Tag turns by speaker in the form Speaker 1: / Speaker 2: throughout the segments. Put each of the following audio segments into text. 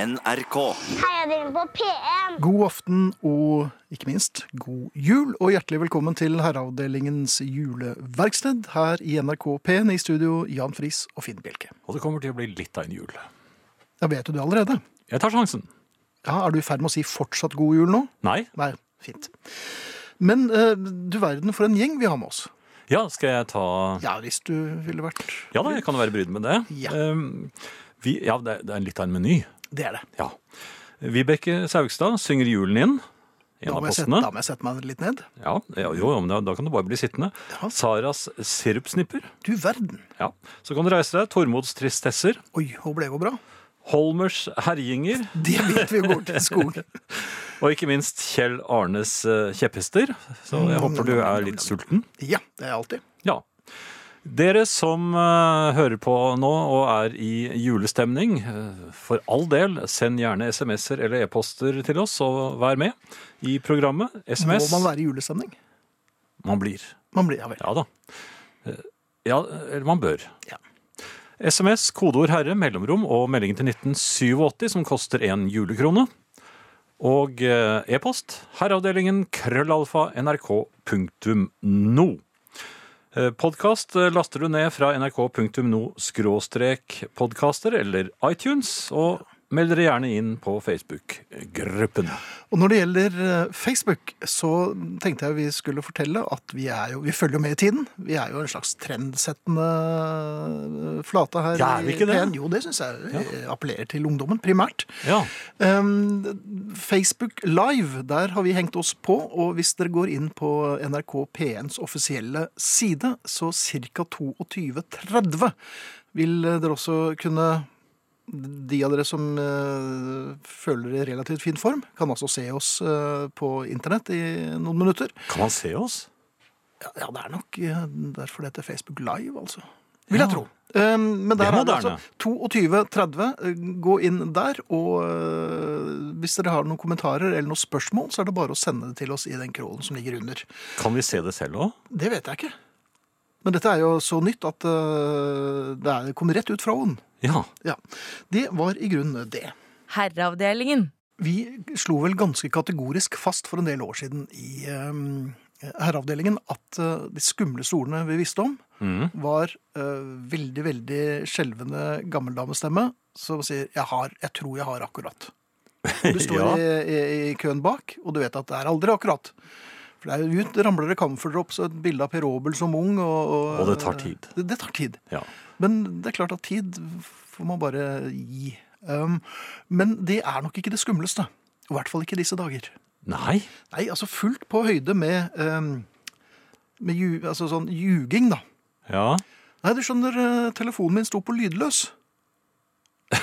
Speaker 1: NRK.
Speaker 2: Heia dere på P1!
Speaker 3: God aften og ikke minst god jul, og hjertelig velkommen til Herreavdelingens juleverksted her i NRK P1 i studio Jan Friis og Finn Bjelke.
Speaker 4: Og det kommer til å bli litt av en jul.
Speaker 3: Jeg vet jo det allerede.
Speaker 4: Jeg tar sjansen.
Speaker 3: Ja, Er du i ferd med å si fortsatt god jul nå?
Speaker 4: Nei?
Speaker 3: Nei, fint. Men eh, du verden for en gjeng vi har med oss.
Speaker 4: Ja, skal jeg ta
Speaker 3: Ja, hvis du ville vært
Speaker 4: Ja da, jeg kan være bryd med det.
Speaker 3: Ja.
Speaker 4: Ehm, vi, ja det, det er litt av en meny.
Speaker 3: Det er det.
Speaker 4: Ja. Vibeke Saugstad synger julen inn.
Speaker 3: Da
Speaker 4: En av
Speaker 3: må, jeg sette,
Speaker 4: postene.
Speaker 3: da må jeg sette meg litt ned.
Speaker 4: Ja, ja, jo, jo, men da, da kan du bare bli sittende.
Speaker 3: Ja.
Speaker 4: Saras sirupsnipper.
Speaker 3: Du verden.
Speaker 4: Ja. Så kan du reise deg. Tormods tristesser.
Speaker 3: Oi, håper det går bra.
Speaker 4: Holmers herjinger.
Speaker 3: Det vet vi jo går til skolen.
Speaker 4: Og ikke minst Kjell Arnes eh, kjepphester. Så
Speaker 3: Mm.
Speaker 4: jeg håper du er litt sulten.
Speaker 3: Ja, det er jeg alltid.
Speaker 4: Ja. Dere som eh, hører på nå og er i julestemning, eh, for all del, send gjerne SMS-er eller e-poster til oss, og vær med i programmet.
Speaker 3: Må
Speaker 4: SMS
Speaker 3: man være i julestemning?
Speaker 4: Man blir.
Speaker 3: Man blir, ja vel.
Speaker 4: Ja da. Eh, Ja, eller man bør.
Speaker 3: Ja.
Speaker 4: SMS, kodeord herre, mellomrom og meldingen til 1987 som koster en julekrone. Og eh, e-post herreavdelingen krøllalfa nrk.no. Podkast Eh, laster du ned fra nrk.no-podkaster eller iTunes, og meld dere gjerne inn på Facebook-gruppen.
Speaker 3: Og når det gjelder eh, Facebook, så tenkte jeg vi skulle fortelle at vi, er jo, vi følger jo med i tiden. Vi er jo en slags trendsettende eh, flate her.
Speaker 4: Ja, er
Speaker 3: i
Speaker 4: vi ikke det?
Speaker 3: P1. Jo, det syns jeg eh, appellerer til ungdommen, primært.
Speaker 4: Ja.
Speaker 3: Um, Facebook Live, der har vi hengt oss på. Og hvis dere går inn på NRK P1s offisielle side, så ca. 22.30 vil dere også kunne de av dere som eh, føler dere i relativt fin form, kan altså se oss eh, på internett i noen minutter.
Speaker 4: Kan man se oss?
Speaker 3: Ja, ja, det er nok eh, derfor det heter Facebook Live, altså. Vil
Speaker 4: Ja.
Speaker 3: jeg tro. Um, men der
Speaker 4: Det
Speaker 3: er,
Speaker 4: er
Speaker 3: det
Speaker 4: moderne.
Speaker 3: altså 22.30. Eh, Gå inn der, og eh, hvis dere har noen kommentarer eller noen spørsmål, så er det bare å sende det til oss i den krålen som ligger under.
Speaker 4: Kan vi se det selv òg?
Speaker 3: Det vet jeg ikke. Men dette er jo så nytt at eh, det er- det kom rett ut fra ovnen.
Speaker 4: Ja.
Speaker 3: Ja. Det var i grunnen det.
Speaker 5: Herreavdelingen.
Speaker 3: Vi slo vel ganske kategorisk fast for en del år siden i um, herreavdelingen at eh, de skumleste ordene vi visste om,
Speaker 4: Mm.
Speaker 3: var eh, veldig, veldig skjelvende gammeldamestemme som sier jeg, har, 'jeg tror jeg har akkurat'. Du står
Speaker 4: Ja.
Speaker 3: i, i, i køen bak, og du vet at det er aldri akkurat. For det er jo ut ramler det camferdrops og et bilde av Per Obel som ung. Og,
Speaker 4: Og det tar tid.
Speaker 3: Det, det tar tid.
Speaker 4: ja.
Speaker 3: Men det er klart at tid får man bare gi. Um, men det er nok ikke det skumleste. I hvert fall ikke disse dager.
Speaker 4: Nei.
Speaker 3: Nei, altså fullt på høyde med, um, med ju, altså sånn ljuging, da.
Speaker 4: Ja.
Speaker 3: Nei, du skjønner, eh, telefonen min sto på lydløs.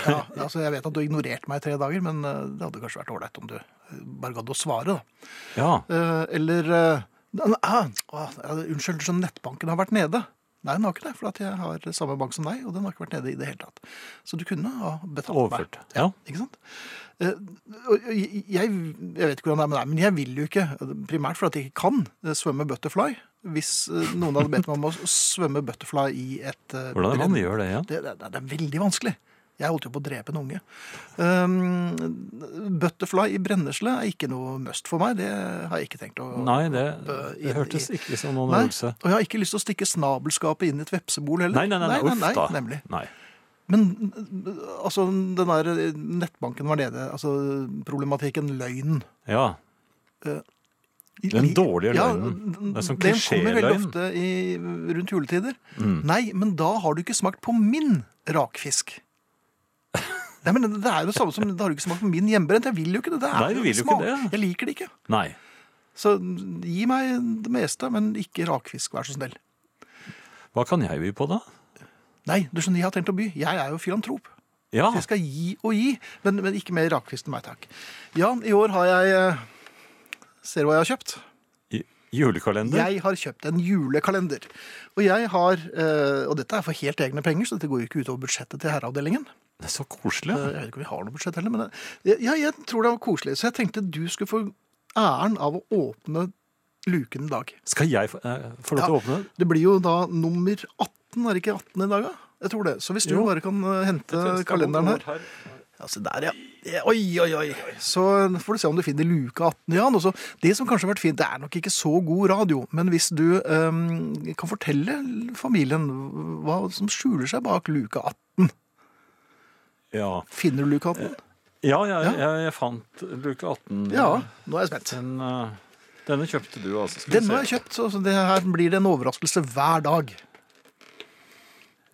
Speaker 3: Ja, altså Jeg vet at du har ignorert meg i tre dager, men eh, det hadde kanskje vært ålreit om du eh, bare gadd å svare, da.
Speaker 4: Ja.
Speaker 3: Eh, Eller eh, «Nei, ah, ah, Unnskyld, så nettbanken har vært nede. Nei, den har ikke det, for at jeg har samme bank som deg, og den har ikke vært nede i det hele tatt. Så du kunne ha betalt
Speaker 4: Overført. Ja.
Speaker 3: meg. Ikke sant? Eh, og Jeg, jeg vet ikke hvordan det er med deg, men jeg vil jo ikke, primært fordi jeg ikke kan, eh, svømme butterfly. Hvis eh, noen hadde bedt meg om å svømme butterfly i et eh,
Speaker 4: Hvordan er det
Speaker 3: brenn-
Speaker 4: man gjør det igjen?
Speaker 3: det, det, det er veldig vanskelig. Jeg holdt jo på å drepe en unge. Um, butterfly i brennesle er ikke noe must for meg. Det har jeg ikke tenkt å
Speaker 4: Nei, det,
Speaker 3: Øh, i-
Speaker 4: det hørtes ikke som noen
Speaker 3: Nei,
Speaker 4: øvelse.
Speaker 3: Og jeg har ikke lyst til å stikke snabelskapet inn i et vepsebol heller.
Speaker 4: Nei, nei, nei, nei, uff da.
Speaker 3: nemlig.
Speaker 4: Nei.
Speaker 3: Men uh, altså, den der nettbanken var nede, altså problematikken løgn.
Speaker 4: Ja. Den dårlige
Speaker 3: Ja,
Speaker 4: løgnen. Det er sånn
Speaker 3: den kommer veldig
Speaker 4: klisjéløgn. Mm.
Speaker 3: ofte i, rundt juletider. Nei, men da har du ikke smakt på min rakfisk. Nei, men Det er jo det samme som da har du ikke smakt på min hjemmebrent. Jeg vil jo ikke det. det er
Speaker 4: Nei,
Speaker 3: jo
Speaker 4: du vil jo
Speaker 3: smak.
Speaker 4: ikke det.
Speaker 3: Jeg liker det ikke.
Speaker 4: Nei.
Speaker 3: Så gi meg det meste, men ikke rakfisk, vær så snill.
Speaker 4: Hva kan jeg by på, da?
Speaker 3: Nei, du skjønner, jeg har tenkt å by. Jeg er jo filantrop.
Speaker 4: Ja.
Speaker 3: Jeg skal gi og gi, men, men ikke mer rakfisk til meg, takk. Jan, i år har jeg eh, Ser du hva jeg har kjøpt?
Speaker 4: i- Julekalender?
Speaker 3: Jeg har kjøpt en julekalender. Og jeg har, eh, og dette er for helt egne penger, så dette går jo ikke utover budsjettet til herreavdelingen.
Speaker 4: Det er så
Speaker 3: Eh,
Speaker 4: koselig.
Speaker 3: Jeg vet ikke om vi har noe budsjett heller, men jeg, ja, jeg tror det var koselig. Så jeg tenkte du skulle få æren av å åpne luken i dag.
Speaker 4: Skal jeg få eh, få lov til å åpne den?
Speaker 3: Det blir jo da nummer 18, er det ikke 18 i dag, da? Jeg tror det. Så hvis du
Speaker 4: Jo.
Speaker 3: bare kan eh, hente kalenderen her. Ja, se der, ja. Eh, Oi, oi, oi. Så får du se om du finner luke 18. Jan. Og så, det som kanskje har vært fint, det er nok ikke så god radio, men hvis du eh, kan fortelle familien hva som skjuler seg bak luke 18
Speaker 4: Ja,
Speaker 3: Finner du luke 18?
Speaker 4: ja jeg, jeg, jeg fant luke 18.
Speaker 3: Ja, nå er jeg spent.
Speaker 4: Den, eh, denne kjøpte du, altså. Skal vi
Speaker 3: Den
Speaker 4: se.
Speaker 3: har jeg kjøpt, så så det her blir det en overraskelse hver dag.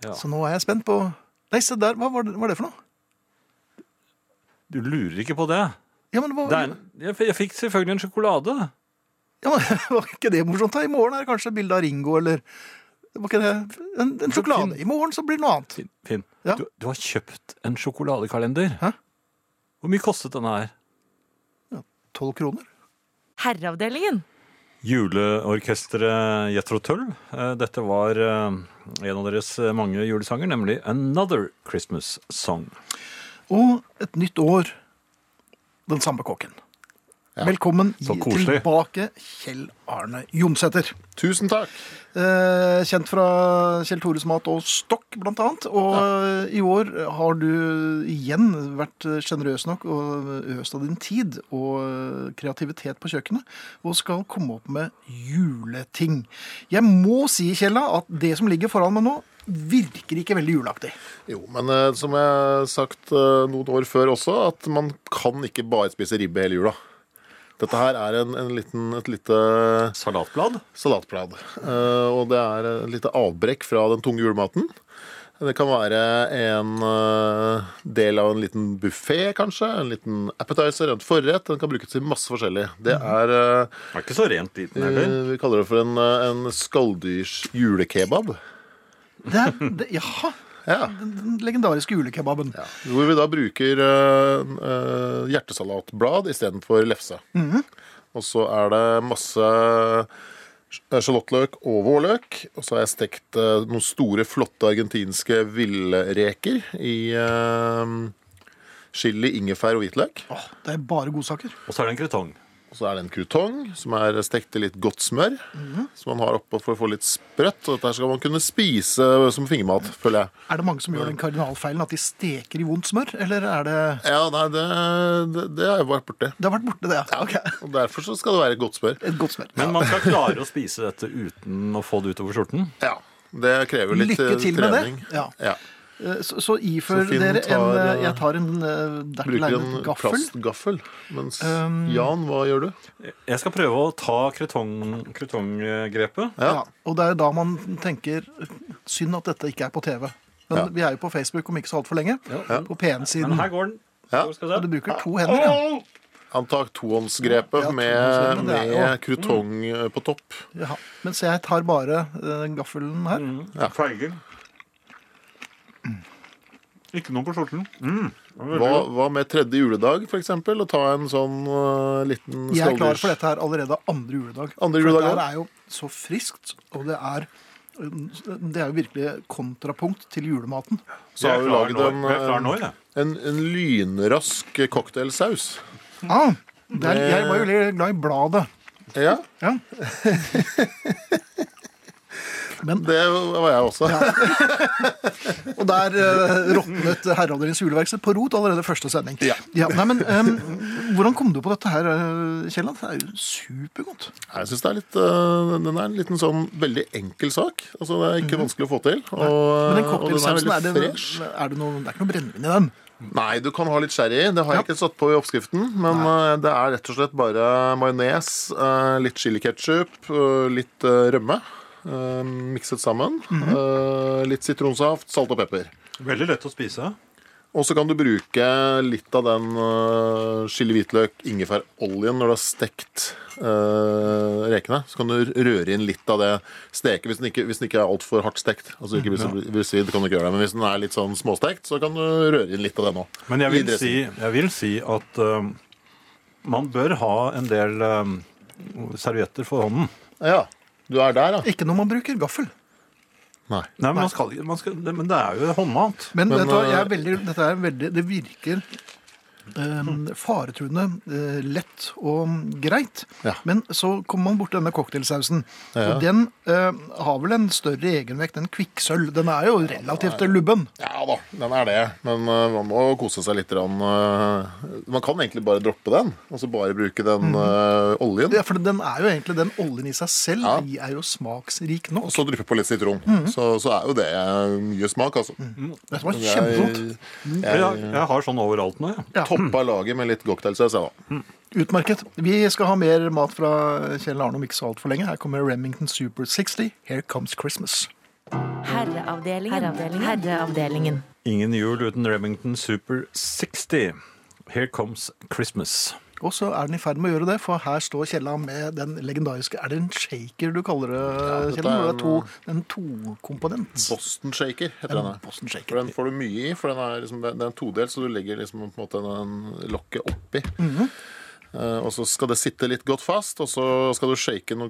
Speaker 4: Ja.
Speaker 3: Så nå er jeg spent på Nei, se der, hva var det, var det for noe?
Speaker 4: Du lurer ikke på det.
Speaker 3: Ja, men, hva,
Speaker 4: det er, jeg, f- jeg fikk selvfølgelig en sjokolade.
Speaker 3: ja, men Var ikke det morsomt? da? I morgen er det kanskje et bilde av Ringo, eller det var ikke det? En, en sjokolade. I morgen så blir det noe annet.
Speaker 4: Finn, Finn,
Speaker 3: Ja.
Speaker 4: du, du har kjøpt en sjokoladekalender.
Speaker 3: Hæ?
Speaker 4: Hvor mye kostet denne her?
Speaker 3: Tolv kroner.
Speaker 1: Herreavdelingen.
Speaker 4: Juleorkesteret Jethro Tull. Eh, Dette var eh, en av deres mange julesanger, nemlig 'Another Christmas Song'.
Speaker 3: Og et nytt år, den samme kokken. Velkommen
Speaker 4: Så
Speaker 3: i-
Speaker 4: koselig.
Speaker 3: tilbake, Kjell Arne Jomsæter.
Speaker 5: Tusen takk.
Speaker 3: Eh, Kjent fra Kjell Tores mat og stokk, blant annet. Og eh, i år har du igjen vært sjenerøs nok og øst av din tid og eh, kreativitet på kjøkkenet, og skal komme opp med juleting. Jeg må si, Kjella, at det som ligger foran meg nå, virker ikke veldig juleaktig.
Speaker 5: Jo, men eh, som jeg har sagt eh, noen år før også, at man kan ikke bare spise ribbe hele jula. Dette her er en, en liten, et lite
Speaker 4: Salatblad?
Speaker 5: salatblad. eh, og det er et lite avbrekk fra den tunge julematen. Det kan være en eh, del av en liten buffé, kanskje. En liten appetizer, en forrett. Den kan brukes til masse forskjellig. Det er eh,
Speaker 4: Det er ikke så rent liten heller.
Speaker 5: eh, Vi kaller det for en, eh, en skalldyrs julekebab.
Speaker 3: Det er, det, jaha,
Speaker 5: Ja.
Speaker 3: den, den legendariske julekebaben.
Speaker 5: Hvor vi da bruker eh, eh, hjertesalatblad istedenfor lefse. Og så er det masse sj- eh, sjalottløk og vårløk. Og så har jeg stekt eh, noen store, flotte argentinske villreker i eh, chili, ingefær og hvitløk.
Speaker 3: Åh, det er bare godsaker.
Speaker 4: Og så er det en kretong.
Speaker 5: Og så er det en krutong som er stekt i litt godt smør. Som man har oppå for å få litt sprøtt. Og dette her skal man kunne spise eh, som fingermat, føler jeg.
Speaker 3: Er det mange som gjør den kardinalfeilen at de steker i vondt smør, eller er det
Speaker 5: Ja, nei, det, det, det har jeg vært borti.
Speaker 3: Det har vært borte, det. Ja. ok.
Speaker 5: Og derfor så skal det være godt smør.
Speaker 3: Et godt smør.
Speaker 4: Men man skal klare å spise dette uten å få det utover skjorten.
Speaker 5: Ja, det krever litt eh,
Speaker 3: Lykke til med
Speaker 5: trening.
Speaker 3: det. Ja.
Speaker 5: Ja.
Speaker 3: Eh, Så, så ifør
Speaker 5: Så Finn
Speaker 3: dere en
Speaker 5: tar,
Speaker 3: eh,
Speaker 5: eh,
Speaker 3: Jeg tar en eh, dertil
Speaker 5: Bruker
Speaker 3: egnet
Speaker 5: en
Speaker 3: gaffel. Um,
Speaker 5: plastgaffel. Mens Jan, hva gjør du?
Speaker 4: Jeg skal prøve å ta kretong- kretonggrepet.
Speaker 3: Ja. og det er da man tenker Synd at dette ikke er på TV. Men
Speaker 5: Ja.
Speaker 3: vi er jo på Facebook om ikke så altfor lenge. På
Speaker 4: Men
Speaker 3: P1-siden.
Speaker 4: her går den.
Speaker 5: Ja.
Speaker 4: Hvor skal
Speaker 3: Og du
Speaker 4: vi se?
Speaker 3: bruker to hender. Ja.
Speaker 5: Han tar tohåndsgrepet
Speaker 3: Ja,
Speaker 5: med,
Speaker 3: tohåndsgrepet, det er
Speaker 5: med krutong eh, på topp.
Speaker 3: Jaha. Mens jeg tar bare eh, gaffelen her.
Speaker 4: Mm. Feiger. Ikke noe på skjorten.
Speaker 5: Hva, hva med tredje juledag, for eksempel? Å ta en sånn eh, liten
Speaker 3: Jeg er klar
Speaker 5: skalldyrs-
Speaker 3: for dette her allerede andre juledag.
Speaker 5: Andre
Speaker 3: For
Speaker 5: juledag,
Speaker 3: Det her
Speaker 5: ja.
Speaker 3: er jo så friskt, og det er eh, det er jo virkelig kontrapunkt til julematen.
Speaker 5: Så har vi laget en,
Speaker 4: Jeg er klar nå,
Speaker 5: eh,
Speaker 4: jeg.
Speaker 5: en, en lynrask cocktailsaus.
Speaker 3: Ah, det er, jeg var jo veldig glad i bladet.
Speaker 5: Ja,
Speaker 3: Ja. Men
Speaker 5: det var jeg også.
Speaker 3: Og der uh, råtnet herreavdelingens juleverksted på rot allerede første sending.
Speaker 5: Ja.
Speaker 3: nei, men ehm, Hvordan kom du på dette her, eh, Kjelland? Det er jo supergodt.
Speaker 5: Jeg synes det er litt, øh, den er en liten sånn veldig enkel sak. Altså, det er ikke vanskelig å få til. Og,
Speaker 3: Mhm. Men den
Speaker 5: Eh, og den er
Speaker 3: cocktailsausen, er,
Speaker 5: veldig
Speaker 3: det-
Speaker 5: fresh.
Speaker 3: er det noe Det er ikke noe brennevin i den?
Speaker 5: Nei, du kan ha litt sherry. Det har jeg ikke satt på i oppskriften. Men øh, det er rett og slett bare majones, øh, litt chiliketchup, litt øh, rømme. øh, mikset sammen.
Speaker 4: Mhm.
Speaker 5: øh, litt sitronsaft, salt og pepper.
Speaker 4: Veldig lett å spise.
Speaker 5: Og så kan du bruke litt av den uh, chili hvitløk ingefæroljen når du har stekt øh, rekene. Så kan du røre inn litt av det steket hvis den ikke, hvis den ikke er altfor hardt stekt. Altså ikke blir, så- blir svidd, kan du ikke gjøre det. Men hvis den er litt sånn småstekt, så kan du røre inn litt av den òg.
Speaker 4: Men jeg vil si, jeg vil si at øhm, man bør ha en del øhm, servietter for hånden.
Speaker 5: Ja, du er der, ja.
Speaker 3: Ikke når man bruker gaffel.
Speaker 5: Nei.
Speaker 4: Nei, men, man skal, ikke- man skal, det, men det er jo håndmat.
Speaker 3: Men,
Speaker 5: Men,
Speaker 3: vet du, hva, jeg er
Speaker 5: eh,
Speaker 3: veldig, dette er veldig Det virker eh, faretruende eh, lett og greit.
Speaker 5: Ja.
Speaker 3: Men så kommer man borti denne cocktailsausen. Og den eh, har vel en større egenvekt enn kvikksølv. Den er jo relativt lubben.
Speaker 5: Ja da, den er det. Men eh, man må kose seg litt. Rann, eh, man kan egentlig bare droppe den, og så bare bruke den eh, oljen.
Speaker 3: Mm. Ja, for den er jo egentlig den oljen i seg selv.
Speaker 5: Ja.
Speaker 3: De er jo smaksrik
Speaker 5: Og
Speaker 3: nok.
Speaker 5: så dryppe på litt sitron.
Speaker 3: Mm.
Speaker 5: Så, så er jo det mye smak, altså.
Speaker 3: Det var Mm. kjempegodt.
Speaker 4: Jeg,
Speaker 5: Jeg, jeg
Speaker 4: jeg har sånn overalt nå, jeg.
Speaker 3: Ja,
Speaker 5: toppa laget med litt cocktailsaus, jeg, da.
Speaker 3: utmerket. Vi skal ha mer mat fra Kjell Arne om ikke så altfor lenge. Her kommer Remington Super 60. Here comes Christmas.
Speaker 1: Herreavdelingen. Herreavdelingen.
Speaker 4: Ingen jul uten Remington Super 60. Here comes Christmas.
Speaker 3: Og så er den i ferd med å gjøre det, for her står Kjella med den legendariske Er det en shaker du kaller det,
Speaker 5: dette
Speaker 3: Kjella?
Speaker 5: er
Speaker 3: Det er to, en tokomponent.
Speaker 5: Boston shaker heter
Speaker 3: En
Speaker 5: denne.
Speaker 3: Boston
Speaker 5: For
Speaker 3: shaker.
Speaker 5: den får du mye i, for den er, liksom, den den er todelt, så du legger liksom på en måte den lokket oppi.
Speaker 3: Mhm.
Speaker 5: Eh, og så skal det sitte litt godt fast, og så skal du shake noe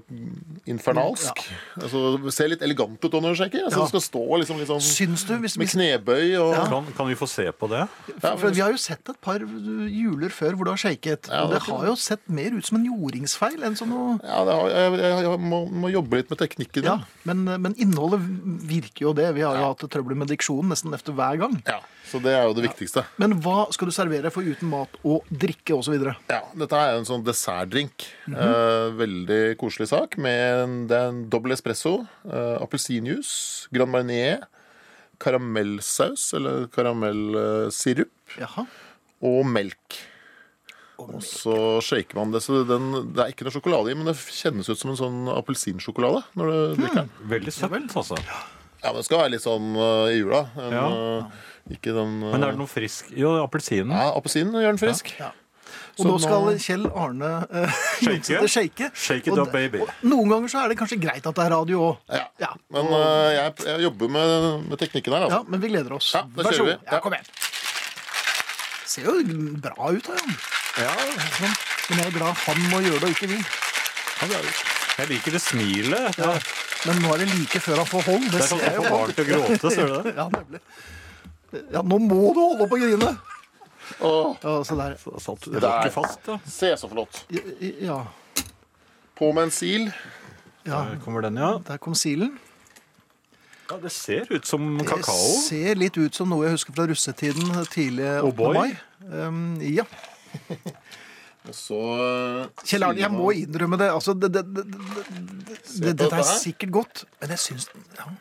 Speaker 5: infernalsk. Altså, det ser litt elegant ut når du shaker. Altså,
Speaker 3: Ja.
Speaker 5: Du skal stå liksom, litt sånn
Speaker 3: Syns du hvis,
Speaker 5: med
Speaker 3: hvis
Speaker 5: knebøy og
Speaker 4: Kan, kan vi få se på det?
Speaker 5: Ja,
Speaker 3: for Vi har jo sett et par juler før hvor det har shaket.
Speaker 5: Ja,
Speaker 3: og det
Speaker 5: det er
Speaker 3: har jo sett mer ut som en jordingsfeil enn som noe
Speaker 5: Ja, det har, jeg, jeg, jeg må, må jobbe litt med teknikken.
Speaker 3: ja,
Speaker 5: da.
Speaker 3: men, men innholdet virker jo det. Vi har jo hatt trøbbel med diksjonen nesten efter hver gang.
Speaker 5: Ja, så det er jo det viktigste.
Speaker 3: Men hva skal du servere for uten mat og drikke osv.?
Speaker 5: Ja, Dette er jo en sånn dessertdrink. eh, veldig koselig sak. Med en, det er en dobbel espresso, eh, appelsinjuice, Grand Marnier, karamellsaus eller karamellsirup
Speaker 3: Jaha.
Speaker 5: og melk. Og så shaker man det. Så den, det er ikke noe sjokolade i, men det kjennes ut som en sånn appelsinsjokolade når
Speaker 4: Hmm.
Speaker 5: du drikker den.
Speaker 4: Veldig søtt, altså.
Speaker 5: Ja, men Det skal være litt sånn eh, i jula. En,
Speaker 4: Ja.
Speaker 5: eh, ikke den eh,
Speaker 4: Men er det noe frisk Jo, appelsinen.
Speaker 5: Ja, appelsinen gjør den frisk.
Speaker 3: Og nå skal Kjell Arne eh,
Speaker 4: Shake.
Speaker 3: shake.
Speaker 4: Shake it
Speaker 3: Og d-
Speaker 4: up, baby.
Speaker 3: og Noen ganger så er det kanskje greit at det er radio òg.
Speaker 5: Ja.
Speaker 3: Ja.
Speaker 5: Men eh, jeg, jeg jobber med, med teknikken her.
Speaker 3: ja,
Speaker 5: Altså.
Speaker 3: men vi gleder oss.
Speaker 5: Ja, da
Speaker 3: Vær så
Speaker 5: kjører vi.
Speaker 3: god. Ja, kom igjen. Ser jo bra ut, da, Jan. Men, men jeg er glad han må gjøre det, og ikke vi.
Speaker 4: Jeg liker det smilet. Det er
Speaker 3: Men nå er det like før han får hold. Det
Speaker 4: sånn
Speaker 3: ser
Speaker 4: at
Speaker 3: jeg
Speaker 4: man
Speaker 3: jo.
Speaker 4: får barn til å gråte, ser du det?
Speaker 3: Ja, nemlig. Ja, nå må du holde opp å grine!
Speaker 5: Åh,
Speaker 3: Ja, se der.
Speaker 4: Da Satt det var ikke fast, da.
Speaker 5: se så flott.
Speaker 3: Ja,
Speaker 5: På med en sil.
Speaker 3: ja.
Speaker 4: Der kommer den, ja.
Speaker 3: Der kom silen.
Speaker 4: ja. Det ser ut som
Speaker 3: Det
Speaker 4: kakao.
Speaker 3: ser litt ut som noe jeg husker fra russetiden tidlig
Speaker 5: Oh
Speaker 3: 8.
Speaker 4: boy.
Speaker 3: mai. Um, ja.
Speaker 5: Og Så eh,
Speaker 3: Kjell Arne, jeg må innrømme det. Altså, det, det, det, det,
Speaker 5: Se
Speaker 3: det
Speaker 5: på
Speaker 3: Dette er
Speaker 5: her.
Speaker 3: sikkert godt, men jeg syns ja.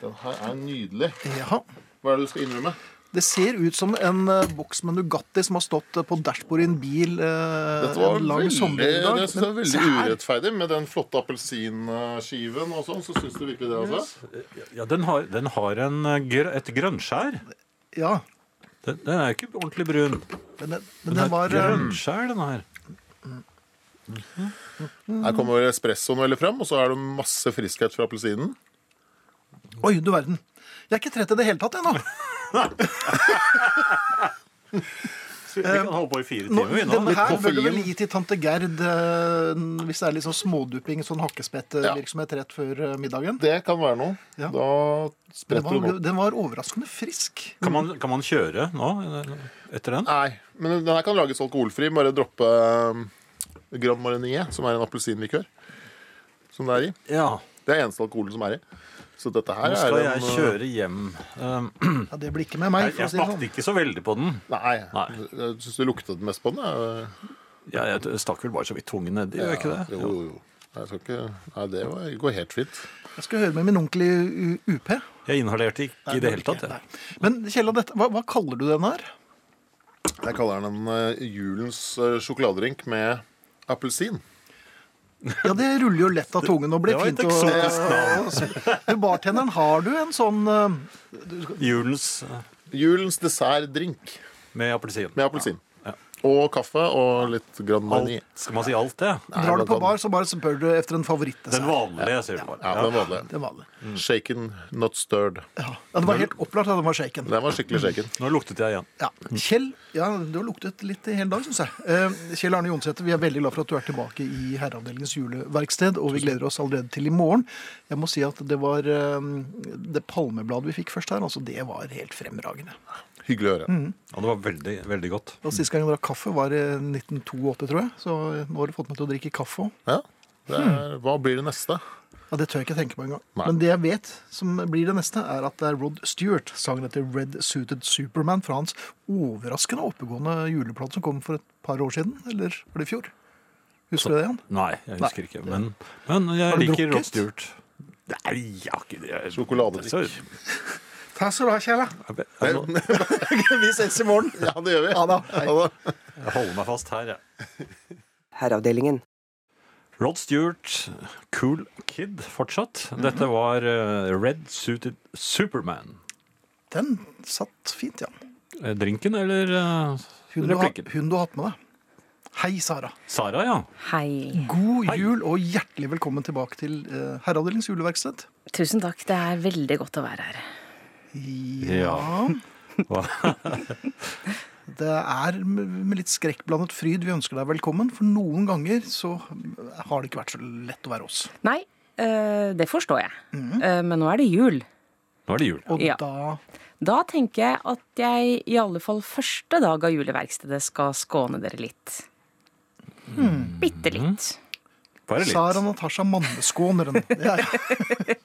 Speaker 5: Den her er nydelig.
Speaker 3: ja.
Speaker 5: Hva er det du skal innrømme?
Speaker 3: Det ser ut som en eh, boks med Nugatti som har stått eh, på dashbordet i en bil eh,
Speaker 5: Dette var
Speaker 3: en lang
Speaker 5: veldig,
Speaker 3: sommerdag.
Speaker 5: jeg synes det var
Speaker 3: Men se
Speaker 5: veldig
Speaker 3: her.
Speaker 5: urettferdig med den flotte appelsinskiven og sånn. Så syns du virkelig det, altså?
Speaker 4: Ja, den har, den har en, eh, gr et grønnskjær.
Speaker 3: Ja,
Speaker 4: Den, den er jo ikke ordentlig brun.
Speaker 3: men, den- men
Speaker 4: Den
Speaker 3: den
Speaker 4: har
Speaker 3: var eh,
Speaker 4: grønnskjær, den her.
Speaker 3: Mm.
Speaker 5: Her kommer espressoen veldig frem, og så er det masse friskhet fra appelsinen.
Speaker 3: eh, Oi, du verden. Jeg er ikke trett i det hele tatt ennå.
Speaker 4: Vi kan holde på i fire
Speaker 3: eh, Nå,
Speaker 4: timer, vi nå.
Speaker 3: denne her
Speaker 5: koffein.
Speaker 3: bør du vel gi til tante Gerd eh, hvis det er litt sånn smådupping, sånn hakkespettvirksomhet rett før eh, middagen.
Speaker 5: Det kan være noe.
Speaker 3: Ja.
Speaker 5: Da
Speaker 3: Den
Speaker 5: spretter du den
Speaker 3: var,
Speaker 5: opp.
Speaker 3: den var overraskende frisk.
Speaker 4: Kan man, kan man kjøre nå eh, etter den?
Speaker 5: Nei, men den her kan lages alkoholfri. Bare droppe um, Grand Marinier, som er en appelsinlikør. Som det er i.
Speaker 4: Ja.
Speaker 5: Det er eneste alkoholen som er i. Så dette her
Speaker 4: Nå skal
Speaker 5: er
Speaker 4: jeg
Speaker 5: en uh,
Speaker 4: kjøre hjem. Um,
Speaker 3: Ja, Det blir ikke med meg.
Speaker 4: Jeg,
Speaker 3: for å
Speaker 4: jeg
Speaker 3: si det sånn.
Speaker 4: smakte ikke så veldig på den.
Speaker 5: Nei.
Speaker 4: Nei.
Speaker 5: Jeg syns du luktet mest på den. jeg.
Speaker 4: Jeg, jeg stakk vel bare så vidt tungen nedi, gjør jeg ikke det?
Speaker 5: Jo, jo, jo. Nei, Jeg skal ikke... Nei, det var- det går helt fint.
Speaker 3: Jeg skal høre med min onkel i U- UP.
Speaker 4: Jeg inhalerte ikke i det hele tatt.
Speaker 3: Nei.
Speaker 4: Jeg.
Speaker 3: Men Kjell, dette, hva, hva kaller du den her?
Speaker 5: Jeg kaller den en uh, julens uh, sjokoladedrink med appelsin.
Speaker 3: Ja, Det ruller jo lett av tungen og blir
Speaker 4: det var et
Speaker 3: fint.
Speaker 4: eksotisk
Speaker 3: å- Du, bartenderen, har du en sånn eh,
Speaker 4: Julens eh,
Speaker 5: Julens dessertdrink
Speaker 4: med appelsin.
Speaker 5: med appelsin.
Speaker 4: Ja.
Speaker 5: Og kaffe og litt Grand Marnier.
Speaker 4: Alt, skal man si alt det?
Speaker 3: Drar du
Speaker 5: men
Speaker 3: på
Speaker 5: den-
Speaker 3: bar, så bare spør du etter en
Speaker 4: Den
Speaker 3: favorittdessert.
Speaker 4: vanlige, sier du bare.
Speaker 5: Ja, den vanlige.
Speaker 3: Den vanlige.
Speaker 5: Shaken, not stirred.
Speaker 3: Ja. ja, det var helt opplagt at den var shaken.
Speaker 5: Den var skikkelig shaken.
Speaker 4: Nå luktet jeg igjen.
Speaker 3: Ja. Kjell, ja, du har luktet litt i hele dag, syns jeg. Eh, Kjell Arne Jonsæter, vi er veldig glad for at du er tilbake i Herreavdelingens juleverksted, og vi gleder oss allerede til i morgen. Jeg må si at det var eh, det palmebladet vi fikk først her, altså det var helt fremragende.
Speaker 5: Hyggelig å høre.
Speaker 4: Og det var veldig, veldig godt.
Speaker 3: Og Sist gang jeg drakk kaffe, var eh, i 1982, tror jeg. Så nå har du fått meg til å drikke kaffe òg.
Speaker 5: Ja. Det er, hva blir det neste?
Speaker 3: Ja, det tør jeg ikke tenke på engang.
Speaker 5: Nei.
Speaker 3: Men det jeg vet som blir det neste, er at det er Rod Stewart, sangen etter Red Suited Superman, fra hans overraskende oppegående juleplate som kom for et par år siden. Eller var det i fjor? Husker du det, Jan?
Speaker 4: Nei, jeg husker ikke. Men, men
Speaker 3: Har du
Speaker 4: jeg liker
Speaker 3: drukket?
Speaker 4: Rod Stewart. Nei, jeg har ikke det.
Speaker 5: Sjokoladedrikk.
Speaker 3: Takk skal du ha, Kjell.
Speaker 4: Jeg
Speaker 3: Vi ses i morgen.
Speaker 5: Ja, det gjør vi.
Speaker 3: Ha det. Hei.
Speaker 5: Ha det.
Speaker 4: holder meg fast her, jeg.
Speaker 6: Herreavdelingen.
Speaker 4: Rod Stewart, cool kid fortsatt. Dette var eh, Red Suited Superman.
Speaker 3: Den satt fint, Jan.
Speaker 4: Eh, Drinken eller eh,
Speaker 3: Hun du, har,
Speaker 4: replikken?
Speaker 3: hun du har hatt med deg. Hei, Sara.
Speaker 4: Sara, ja.
Speaker 1: Hei.
Speaker 3: God jul og hjertelig velkommen tilbake til eh, Herreavdelingens juleverksted.
Speaker 1: Tusen takk. Det er veldig godt å være her.
Speaker 4: Ja. Hva-
Speaker 3: Det er med med litt skrekkblandet fryd vi ønsker deg velkommen, for noen ganger så har det ikke vært så lett å være oss.
Speaker 1: Nei, eh, det forstår jeg. Eh, men nå er det jul.
Speaker 4: Nå er det jul.
Speaker 3: Og
Speaker 1: Ja.
Speaker 3: da
Speaker 1: Da tenker jeg at jeg i alle fall første dag av juleverkstedet skal skåne dere litt. Bitte litt.
Speaker 4: Bare
Speaker 3: Sara
Speaker 4: litt.
Speaker 3: Natasha Manneskåneren. Det er,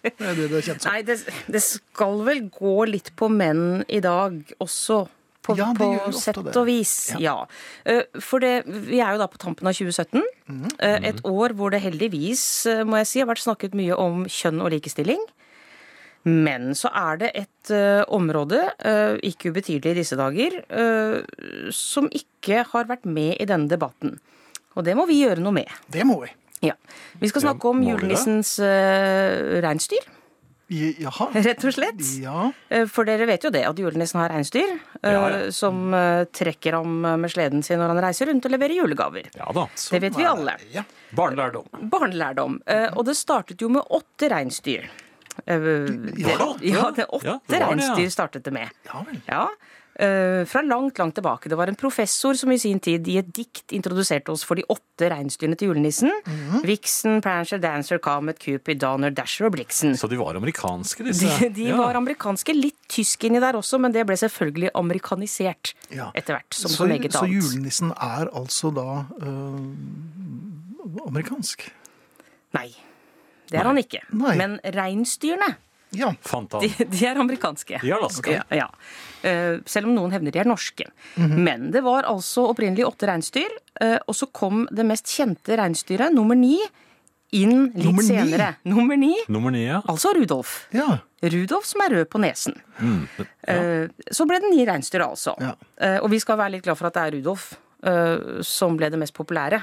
Speaker 3: det er det det er kjent som.
Speaker 1: Nei, det, det skal vel gå litt på menn i dag også. På,
Speaker 3: Ja, det
Speaker 1: på
Speaker 3: gjør jo ofte
Speaker 1: sett
Speaker 3: det.
Speaker 1: og vis. Ja. Eh, For det, vi er jo da på tampen av 2017.
Speaker 3: Mhm.
Speaker 1: eh, Et år hvor det heldigvis, eh, må jeg si, har vært snakket mye om kjønn og likestilling. Men så er det et eh, område, eh, ikke ubetydelig i disse dager, eh, som ikke har vært med i denne debatten. Og det må vi gjøre noe med.
Speaker 3: Det må vi.
Speaker 1: Ja. Vi skal snakke om
Speaker 4: må vi det?
Speaker 1: julenissens uh, reinsdyr,
Speaker 3: I- Jaha.
Speaker 1: rett og slett.
Speaker 3: Ja.
Speaker 1: Eh, For dere vet jo det, at julenissen har reinsdyr eh,
Speaker 4: Ja, ja.
Speaker 1: som eh, trekker ham eh, med sleden sin når han reiser rundt og leverer julegaver.
Speaker 4: Ja da.
Speaker 3: sånn
Speaker 1: vet vi
Speaker 3: er
Speaker 1: alle.
Speaker 3: Ja.
Speaker 4: Barnelærdom.
Speaker 1: Barnelærdom. Eh, Og det startet jo med åtte reinsdyr. Eh,
Speaker 4: åtte?
Speaker 1: Det, ja, det
Speaker 4: Ja,
Speaker 1: åtte
Speaker 4: det var det, ja.
Speaker 1: reinsdyr startet det med.
Speaker 3: ja vel.
Speaker 1: Ja, eh, Fra langt, langt tilbake. Det var en professor som i sin tid i et dikt introduserte oss for de åtte reinsdyrene til julenissen.
Speaker 4: Mhm.
Speaker 1: Vixen, Prancer, Dancer, Comet, Cupid, Donner, Dasher og Blixen.
Speaker 4: Så de var amerikanske, disse?
Speaker 1: De, de
Speaker 4: Ja.
Speaker 1: var amerikanske. Litt tysk inni der også, men det ble selvfølgelig amerikanisert
Speaker 3: Ja.
Speaker 1: etter hvert. Som
Speaker 3: Så,
Speaker 1: så meget
Speaker 3: så
Speaker 1: annet.
Speaker 3: julenissen er altså da øh, amerikansk?
Speaker 1: Nei. Det er han ikke.
Speaker 3: Nei.
Speaker 1: Men reinsdyrene,
Speaker 3: Ja.
Speaker 4: Fant
Speaker 1: de,
Speaker 4: han.
Speaker 1: de er amerikanske.
Speaker 4: I Alaska.
Speaker 1: Ja, ja. Eh, Selv om noen hevner de er norske.
Speaker 3: Mhm.
Speaker 1: Men det var altså opprinnelig åtte reinsdyr, eh, og så kom det mest kjente reinsdyret, nummer ni, inn litt
Speaker 3: Nummer ni?
Speaker 1: senere. Nummer ni,
Speaker 4: Nummer ni, ja.
Speaker 1: altså Rudolf.
Speaker 3: ja.
Speaker 1: Rudolf som er rød på nesen. Eh, Så ble det ni reinsdyr, altså.
Speaker 3: Ja.
Speaker 1: Eh, Og vi skal være litt glad for at det er Rudolf eh, som ble det mest populære.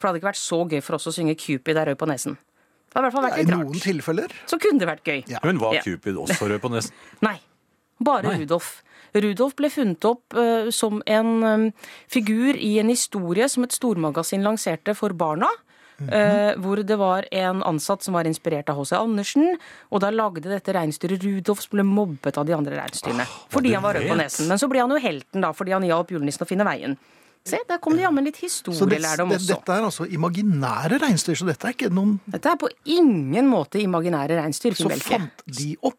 Speaker 1: For det hadde ikke vært så gøy for oss å synge Cupid er rød på nesen. Det hadde i hvert fall vært
Speaker 3: I
Speaker 1: litt
Speaker 3: noen
Speaker 1: rart.
Speaker 3: tilfeller.
Speaker 1: Så kunne det vært gøy.
Speaker 4: Men var
Speaker 1: Ja.
Speaker 4: Cupid også rød på nesen?
Speaker 1: Nei. Bare
Speaker 4: Nei.
Speaker 1: Rudolf. Rudolf ble funnet opp eh, som en eh, figur i en historie som et stormagasin lanserte for barna.
Speaker 3: Mhm.
Speaker 1: eh, hvor det var en ansatt som var inspirert av H.C. Andersen. Og da lagde dette reinsdyret Rudolf som ble mobbet av de andre
Speaker 3: Ah,
Speaker 1: reinsdyrene. fordi
Speaker 4: du
Speaker 1: han var rød på
Speaker 4: vet.
Speaker 1: nesen. Men så ble han jo helten, da, fordi han hjalp julenissen å finne veien. Se, der kom det jammen litt
Speaker 3: Så det,
Speaker 1: historielærdom
Speaker 3: det,
Speaker 1: også.
Speaker 3: dette er altså imaginære reinsdyr, så dette er ikke noen
Speaker 1: Dette er på ingen måte imaginære reinsdyr.
Speaker 3: Så
Speaker 1: Finn Bjelke.
Speaker 3: fant de opp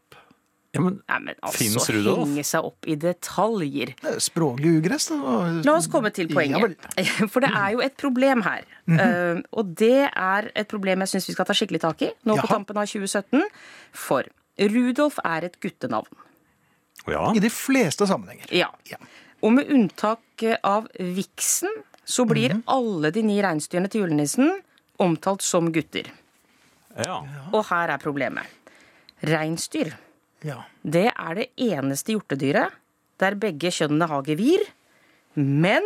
Speaker 4: Ja, men
Speaker 1: Nei, men
Speaker 4: Finnes
Speaker 1: altså,
Speaker 4: Rudolf?
Speaker 1: henge seg opp i detaljer.
Speaker 3: Det er Språklig ugress. det var-
Speaker 1: La oss komme til
Speaker 3: Ja vel. Mhm.
Speaker 1: poenget. For det er jo et problem her. Eh, og det er et problem jeg syns vi skal ta skikkelig tak i nå på
Speaker 3: Jaha.
Speaker 1: tampen av 2017. For Rudolf er et guttenavn.
Speaker 4: Ja.
Speaker 3: I de fleste sammenhenger.
Speaker 1: Ja.
Speaker 3: Ja.
Speaker 1: Og med unntak av Vixen så blir
Speaker 3: Mhm.
Speaker 1: alle de ni reinsdyrene til julenissen omtalt som gutter.
Speaker 4: ja.
Speaker 1: Og her er problemet. Reinsdyr,
Speaker 3: Ja.
Speaker 1: det er det eneste hjortedyret der begge kjønnene har gevir. Men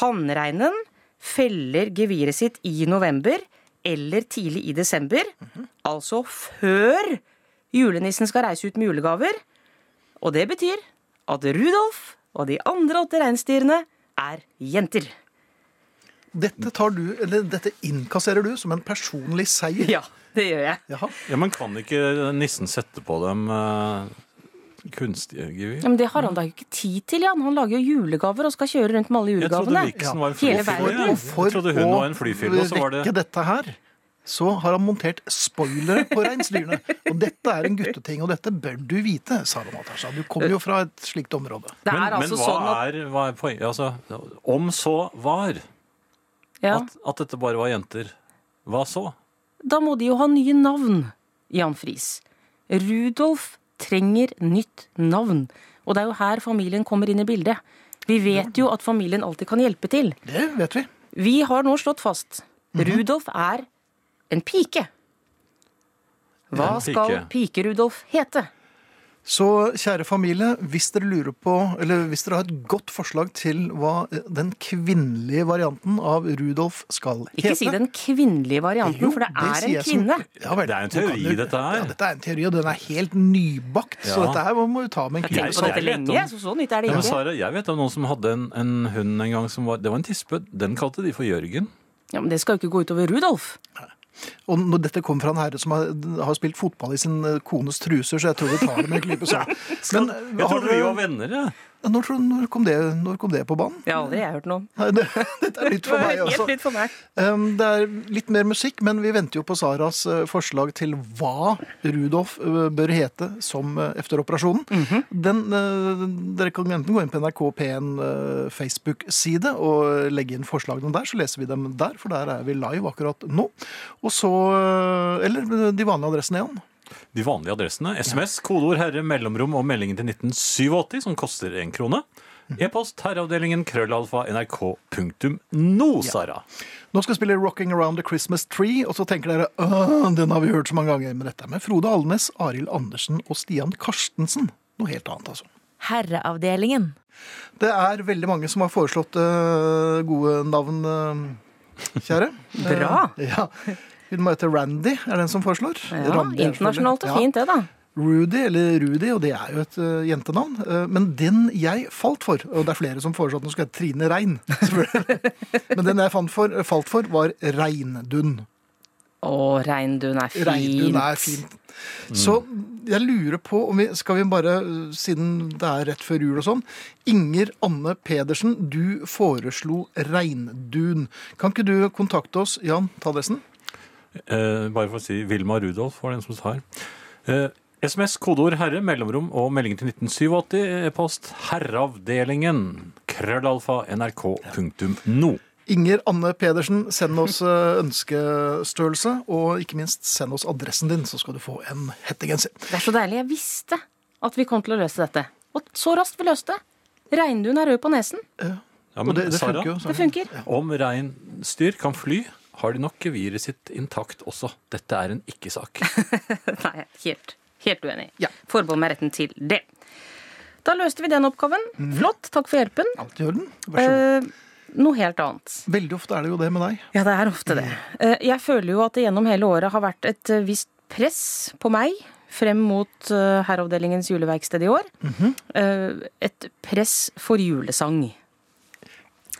Speaker 1: hannreinen feller geviret sitt i november eller tidlig i desember. Altså før julenissen skal reise ut med julegaver. Og det betyr at Rudolf og de andre åtte reinsdyrene er jenter.
Speaker 3: Dette, tar du, eller dette innkasserer du som en personlig seier.
Speaker 1: Ja, det gjør jeg.
Speaker 3: Jaha.
Speaker 4: ja, men kan ikke nissen sette på dem eh, kunstige gevir?
Speaker 1: Ja, men det har han da ikke tid til, Jan. Han lager jo julegaver og skal kjøre rundt med alle
Speaker 4: Jeg trodde
Speaker 1: julegavene.
Speaker 4: Vixen var en
Speaker 1: Hele
Speaker 4: flyfille.
Speaker 1: verden.
Speaker 4: jeg. Jeg trodde hun var en flyfille, og så var det
Speaker 3: rekke dette her, så har han montert spoilere på reinsdyrene. Og dette er en gutteting, og dette bør du vite, sa Natasha. Du kommer jo fra et slikt område.
Speaker 1: Det
Speaker 4: Men,
Speaker 1: er altså
Speaker 4: men hva,
Speaker 1: sånn at
Speaker 4: er, hva er poenget? Altså, om så var
Speaker 1: ja,
Speaker 4: at, at dette bare var jenter, hva så?
Speaker 1: Da må de jo ha nye navn, Jan Friis. Rudolf trenger nytt navn. Og det er jo her familien kommer inn i bildet. Vi vet jo at familien alltid kan hjelpe til.
Speaker 3: Det vet vi.
Speaker 1: Vi har nå slått fast. Rudolf er en pike. Hva
Speaker 4: En pike.
Speaker 1: skal pike-Rudolf hete?
Speaker 3: Så kjære familie, hvis dere lurer på, eller hvis dere har et godt forslag til hva den kvinnelige varianten av Rudolf skal hete
Speaker 1: Ikke si den kvinnelige varianten,
Speaker 3: Jo,
Speaker 1: for det er
Speaker 3: sier
Speaker 1: en
Speaker 3: jeg som-
Speaker 1: kvinne.
Speaker 3: Ja vel,
Speaker 4: Det er en
Speaker 3: du kan
Speaker 4: teori,
Speaker 3: jo-
Speaker 4: dette her.
Speaker 3: Ja, dette er en teori, og den er helt nybakt, så
Speaker 4: Ja.
Speaker 3: dette her må du ta med en
Speaker 1: Jeg
Speaker 3: klype
Speaker 1: har tenkt på
Speaker 4: så
Speaker 3: salt.
Speaker 1: dette
Speaker 4: jeg vet
Speaker 1: lenge,
Speaker 4: om-
Speaker 1: så så nytt er det
Speaker 4: Men
Speaker 1: ikke.
Speaker 4: Sara, jeg vet om noen som hadde en, en hund en gang som var Det var en tispe. Den kalte de for Jørgen.
Speaker 1: Ja, men det skal jo ikke gå utover Rudolf.
Speaker 3: Og når dette kommer fra en herre som har, har spilt fotball i sin eh, kones truser, så jeg tror vi tar det med en klype salt. Men eh,
Speaker 4: Jeg
Speaker 3: har
Speaker 4: trodde vi
Speaker 3: dere,
Speaker 4: var venner, jeg.
Speaker 3: når, tror- når, kom det, når kom det på banen?
Speaker 1: Det har aldri jeg hørt noe om.
Speaker 3: Nei, det, dette er nytt for meg også.
Speaker 1: litt for meg.
Speaker 3: Um, Det er litt mer musikk, men vi venter jo på Saras eh, forslag til hva Rudolf eh, bør hete som eh, efter operasjonen. Den, eh, dere kan enten gå inn på NRK P1 eh, Facebook-side og legge inn forslagene der, så leser vi dem der, for der er vi live akkurat nå. Og så, eh, eller eh, de vanlige adressene igjen.
Speaker 4: De vanlige adressene. SMS, kodeord herre, mellomrom og meldingen til 1987, som koster én krone. E-post herreavdelingen krøllalfa nrk.no, Sara.
Speaker 3: Nå skal vi spille Rocking Around the Christmas Tree, og så tenker dere «Åh, den har vi hørt så mange ganger, men dette er med Frode Alnes, Arild Andersen og Stian Karstensen. Noe helt annet, altså.
Speaker 7: Herreavdelingen.
Speaker 3: Det er veldig mange som har foreslått eh, gode navn, eh, kjære.
Speaker 1: Bra.
Speaker 3: Eh, ja. Hun må hete Randy, er den som foreslår.
Speaker 1: Ja,
Speaker 3: Randi, selvfølgelig.
Speaker 1: internasjonalt og
Speaker 3: Ja.
Speaker 1: fint det, da.
Speaker 3: Rudy, eller Rudy, og det er jo et eh, jentenavn. Eh, men den jeg falt for, og det er flere som foreslår at den skal hete Trine Rein, selvfølgelig. men den jeg fant for, eh, falt for, var Reindun.
Speaker 1: Å, reindun er fint.
Speaker 3: Reindun er fint. Så jeg lurer på om vi Skal vi bare, eh, siden det er rett før jul og sånn Inger Anne Pedersen, du foreslo Reindun. Kan ikke du kontakte oss? Jan, ta adressen.
Speaker 4: Eh, bare for å si Vilma Rudolf var den som sa her. Eh, SMS, kodeord herre, mellomrom og meldingen til 1987, e-post herreavdelingen krøllalfa nrk.no.
Speaker 3: Inger Anne Pedersen, send oss eh, ønskestørrelse, og ikke minst send oss adressen din, så skal du få en hettegenser.
Speaker 1: Det er så deilig. Jeg visste at vi kom til å løse dette. Og så raskt vi løste det. Reindun er rød på nesen.
Speaker 4: Ja,
Speaker 3: Og
Speaker 4: men
Speaker 3: det, det
Speaker 4: Sara,
Speaker 3: funker jo. så-
Speaker 1: Det funker.
Speaker 4: om reinsdyr kan fly, har de nok geviret sitt intakt også. Dette er en ikke-sak.
Speaker 1: Nei, helt, helt uenig.
Speaker 3: Ja.
Speaker 1: Forbehold meg retten til det. Da løste vi den oppgaven. Flott. Takk for hjelpen.
Speaker 3: Alt i orden. Mhm. Vær så god.
Speaker 1: Eh, noe helt annet.
Speaker 3: Veldig ofte er det jo det med deg.
Speaker 1: Ja, det er ofte det.
Speaker 3: Mhm.
Speaker 1: Eh, Jeg føler jo at det gjennom hele året har vært et eh, visst press på meg frem mot eh, Herreavdelingens juleverksted i år.
Speaker 3: Mhm.
Speaker 1: Eh, Et press for julesang.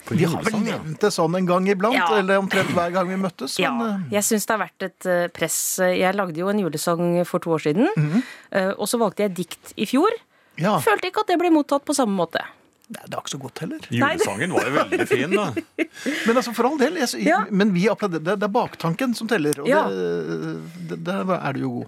Speaker 4: På
Speaker 3: Vi har vel
Speaker 4: julesang, ja.
Speaker 3: nevnt det sånn en gang iblant,
Speaker 1: Ja.
Speaker 3: eller omtrent hver gang vi møttes.
Speaker 1: Ja,
Speaker 3: Men, eh,
Speaker 1: jeg syns det har vært et eh, press. Jeg lagde jo en julesang for to år siden.
Speaker 3: Mhm.
Speaker 1: eh, Og så valgte jeg dikt i fjor.
Speaker 3: Ja,
Speaker 1: Følte ikke at det ble mottatt på samme måte.
Speaker 3: Nei, det er ikke så godt heller.
Speaker 4: Julesangen var jo veldig fin, da.
Speaker 3: Men altså, for all del, jeg,
Speaker 1: Ja.
Speaker 3: men vi applauderer. Det, det er baktanken som teller, og
Speaker 1: Ja.
Speaker 3: det, det, der er du jo god.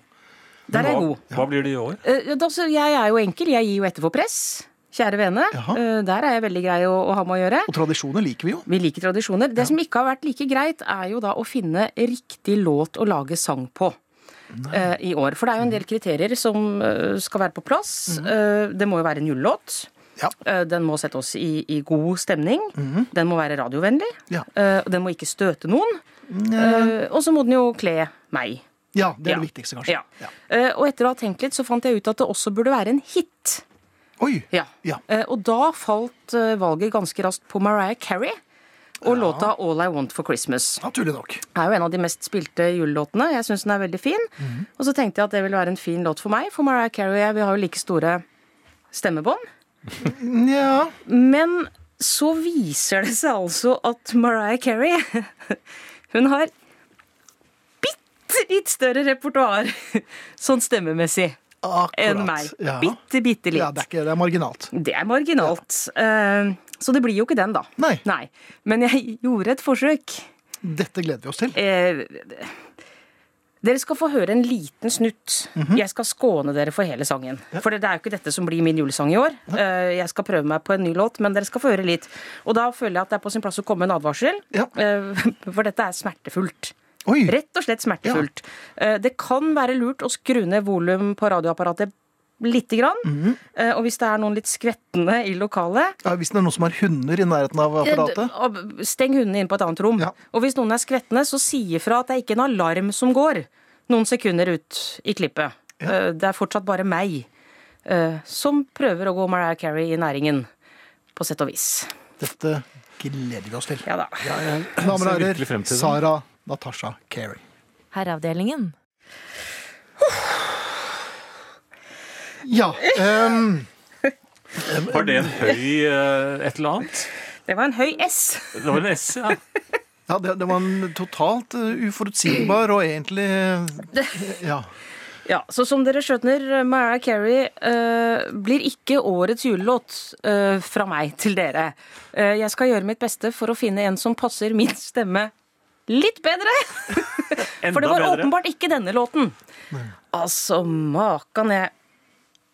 Speaker 1: Der er jeg god.
Speaker 4: Hva, hva blir det i år?
Speaker 1: Eh, da, så jeg er jo enkel. Jeg gir jo etter for press. Kjære vene.
Speaker 3: Jaha.
Speaker 1: Eh, Der er jeg veldig grei å, å ha med å gjøre.
Speaker 3: Og tradisjoner liker vi jo.
Speaker 1: Vi liker tradisjoner. Det som ikke har vært like greit, er jo da å finne riktig låt å lage sang på. eh, I år. For det er jo en del kriterier som eh, skal være på plass.
Speaker 3: Mhm.
Speaker 1: Eh, det må jo være en julelåt.
Speaker 3: Ja.
Speaker 1: Eh, den må sette oss i, i god stemning. Den må være radiovennlig.
Speaker 3: Mhm. Ja.
Speaker 1: Eh, og den må ikke støte noen. Eh, og så må den jo kle meg.
Speaker 3: Ja, det er
Speaker 1: Ja.
Speaker 3: det viktigste, kanskje.
Speaker 1: Ja. Eh, og etter å ha tenkt litt, så fant jeg ut at det også burde være en hit.
Speaker 3: Oi!
Speaker 1: Ja.
Speaker 3: Ja.
Speaker 1: Eh, Og da falt eh, valget ganske raskt på Mariah Carey og låta All I Want for Christmas.
Speaker 3: Naturlig nok.
Speaker 1: Er jo en av de mest spilte julelåtene. Jeg syns den er veldig fin.
Speaker 3: Mhm.
Speaker 1: Og så tenkte jeg at det ville være en fin låt for meg, for Mariah Carey og jeg vi har jo like store stemmebånd.
Speaker 3: Ja.
Speaker 1: Men så viser det seg altså at Mariah Carey Hun har bitte litt større repertoar sånn stemmemessig
Speaker 3: Akkurat.
Speaker 1: enn meg.
Speaker 3: Ja.
Speaker 1: Bitte, bitte litt.
Speaker 3: Ja, det er, ikke, det er marginalt.
Speaker 1: Det er marginalt. Eh, Så det blir jo ikke den, da.
Speaker 3: Nei.
Speaker 1: Men jeg gjorde et forsøk.
Speaker 3: Dette gleder vi oss til.
Speaker 1: Eh, dere skal få høre en liten snutt. Jeg skal skåne dere for hele sangen. For det er jo ikke dette som blir min julesang i år. Eh, Jeg skal prøve meg på en ny låt, men dere skal få høre litt. Og da føler jeg at det er på sin plass å komme med en advarsel.
Speaker 3: Ja.
Speaker 1: Eh, For dette er smertefullt.
Speaker 3: Oi!
Speaker 1: Rett og slett smertefullt. Eh, Det kan være lurt å skru ned volum på radioapparatet lite grann. Eh, Og hvis det er noen litt skvettende i lokalet,
Speaker 3: Ja, hvis det er noen som har hunder i nærheten av apparatet.
Speaker 1: Eh, d- og Steng hundene inn på et annet rom.
Speaker 3: Ja.
Speaker 1: Og hvis noen er skvettende, så si ifra at det er ikke en alarm som går noen sekunder ut i klippet. Eh, Det er fortsatt bare meg eh, som prøver å gå Mariah Carey i næringen. På sett og vis.
Speaker 3: Dette gleder vi oss til.
Speaker 1: Ja da.
Speaker 3: Damer og
Speaker 4: Ser virkelig frem
Speaker 3: herrer,
Speaker 4: til det.
Speaker 3: Sara Natasha Carey.
Speaker 7: Herreavdelingen.
Speaker 3: Ja, ehm,
Speaker 4: Var det en høy eh, et eller annet?
Speaker 1: Det var en høy S.
Speaker 4: Det var en S, ja.
Speaker 3: ja det, det var en totalt eh, uforutsigbar og egentlig eh, Ja.
Speaker 1: Ja, så som dere skjønner, Mariah Carey eh, blir ikke årets julelåt eh, fra meg til dere. Eh, jeg skal gjøre mitt beste for å finne en som passer min stemme litt bedre. For det var åpenbart ikke denne låten. Altså, makan jeg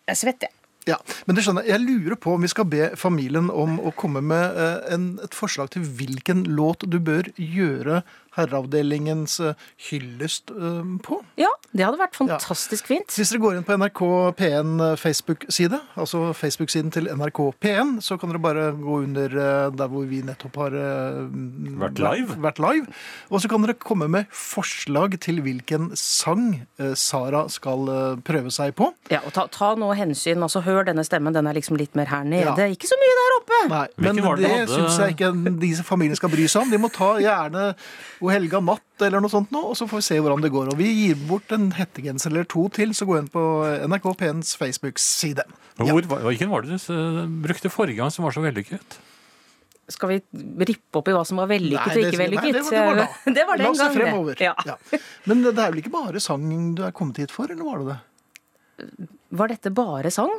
Speaker 1: Jeg svetter, jeg.
Speaker 3: Ja, men det skjønner jeg. Jeg lurer på om vi skal be familien om å komme med eh, en, et forslag til hvilken låt du bør gjøre herreavdelingens eh, hyllest eh, på.
Speaker 1: Ja, det hadde vært fantastisk fint.
Speaker 3: Hvis dere går inn på NRK P1 Facebook-side, altså Facebook-siden til NRK P1, så kan dere bare gå under eh, der hvor vi nettopp har eh,
Speaker 4: Vært live.
Speaker 3: vært live. Og så kan dere komme med forslag til hvilken sang eh, Sara skal eh, prøve seg på.
Speaker 1: Ja, og ta, ta nå hensyn. altså Hør denne stemmen. Den er liksom litt mer her nede.
Speaker 3: Ja.
Speaker 1: Ikke så mye der oppe.
Speaker 3: Nei,
Speaker 4: Hvilken
Speaker 3: men
Speaker 4: var det
Speaker 3: det
Speaker 4: du hadde?
Speaker 3: syns jeg ikke de som familien skal bry seg om. De må ta gjerne O helga natt eller noe sånt nå, og så får vi se hvordan det går. Og vi gir bort en hettegenser eller to til, så gå inn på NRK P1s Facebook-side.
Speaker 4: Men Hvor, var- hvilken var det du eh, brukte forrige gang som var så vellykket?
Speaker 1: Skal vi rippe opp i hva som var vellykket og
Speaker 3: det-
Speaker 1: ikke
Speaker 3: nei,
Speaker 1: vellykket?
Speaker 3: det, var- det var da.
Speaker 1: eh, Det var
Speaker 3: La
Speaker 1: den
Speaker 3: oss se
Speaker 1: gang,
Speaker 3: fremover.
Speaker 1: det. Ja.
Speaker 3: Ja. Men det er vel ikke bare sang du er kommet hit for, eller var det det?
Speaker 1: Var dette bare sang?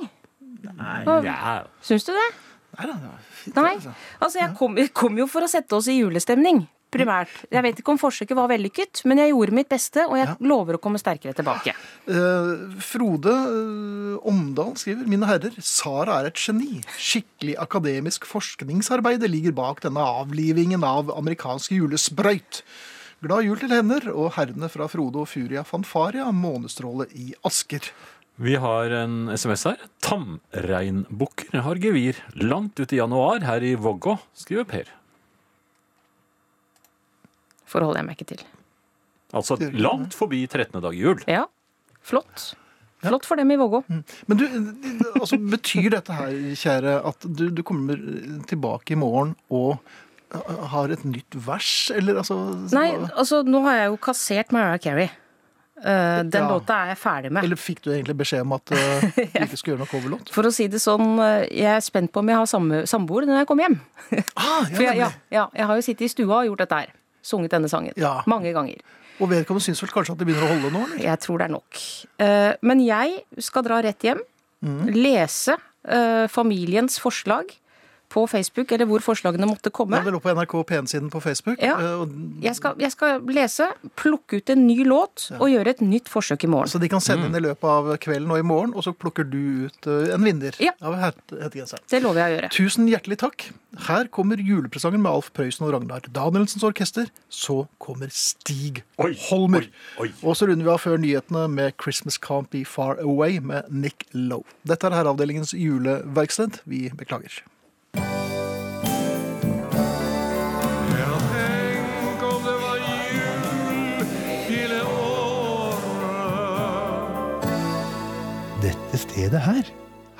Speaker 4: Nei, ja.
Speaker 1: Syns du det?
Speaker 3: Nei, da, det var fint,
Speaker 1: Nei.
Speaker 3: altså.
Speaker 1: Altså, jeg kom, kom jo for å sette oss i julestemning. Primært.
Speaker 3: Mm.
Speaker 1: Jeg vet ikke om forsøket var vellykket, men jeg gjorde mitt beste, og jeg lover å komme sterkere tilbake.
Speaker 3: Eh, Frode eh, Omdal skriver Mine herrer, Sara er et geni. Skikkelig akademisk forskningsarbeid ligger bak denne avlivingen av amerikansk julesprøyt. Glad jul til henner og herrene fra Frode og Furia Fanfaria, månestråle i Asker.
Speaker 4: Vi har en SMS her. Tamreinbukker har gevir langt ut i januar her i Vågå, skriver Per.
Speaker 1: Forholder jeg meg ikke til.
Speaker 4: Altså langt forbi 13. dag i jul.
Speaker 1: Ja, flott. Flott for dem i Vågå.
Speaker 3: Men du, eh, altså, betyr dette her, kjære, at du, du kommer tilbake i morgen og eh, har et nytt vers, eller altså
Speaker 1: Nei, altså, nå har jeg jo kassert Mariah Carey. Eh, den
Speaker 3: Ja.
Speaker 1: låta er jeg ferdig med.
Speaker 3: Eller fikk du egentlig beskjed om at eh, du ikke skulle gjøre noe coverlåt?
Speaker 1: For å si det sånn, eh, jeg er spent på om jeg har samme samboer når jeg kommer hjem.
Speaker 3: Ah, ja,
Speaker 1: For jeg,
Speaker 3: nemlig.
Speaker 1: ja, ja, jeg har jo sittet i stua og gjort dette her. Sunget denne sangen.
Speaker 3: Ja.
Speaker 1: Mange ganger.
Speaker 3: Og vedkommende syns vel kanskje at det begynner å holde nå? eller?
Speaker 1: Jeg tror det er nok. Eh, Men jeg skal dra rett hjem,
Speaker 3: Mm.
Speaker 1: lese eh, familiens forslag på Facebook, eller hvor forslagene måtte komme.
Speaker 3: Ja, det lå på NRK P1-siden på Facebook.
Speaker 1: Ja.
Speaker 3: eh, og-
Speaker 1: Jeg skal, jeg skal lese, plukke ut en ny låt og gjøre et nytt forsøk i morgen.
Speaker 3: Så de kan
Speaker 4: Mm.
Speaker 3: sende inn i løpet av kvelden og i morgen, og så plukker du ut eh, en vinner.
Speaker 1: Ja.
Speaker 3: av het- hettegenseren.
Speaker 1: Det lover jeg å gjøre.
Speaker 3: Tusen hjertelig takk. Her kommer julepresangen med Alf Prøysen og Ragnar Danielsens orkester. Så kommer Stig Holmer.
Speaker 4: oi, oi.
Speaker 3: Og så runder vi av før nyhetene med 'Christmas Can't Be Far Away' med Nick Lowe. Dette er Herreavdelingens juleverksted. Vi beklager.
Speaker 8: Dette stedet her,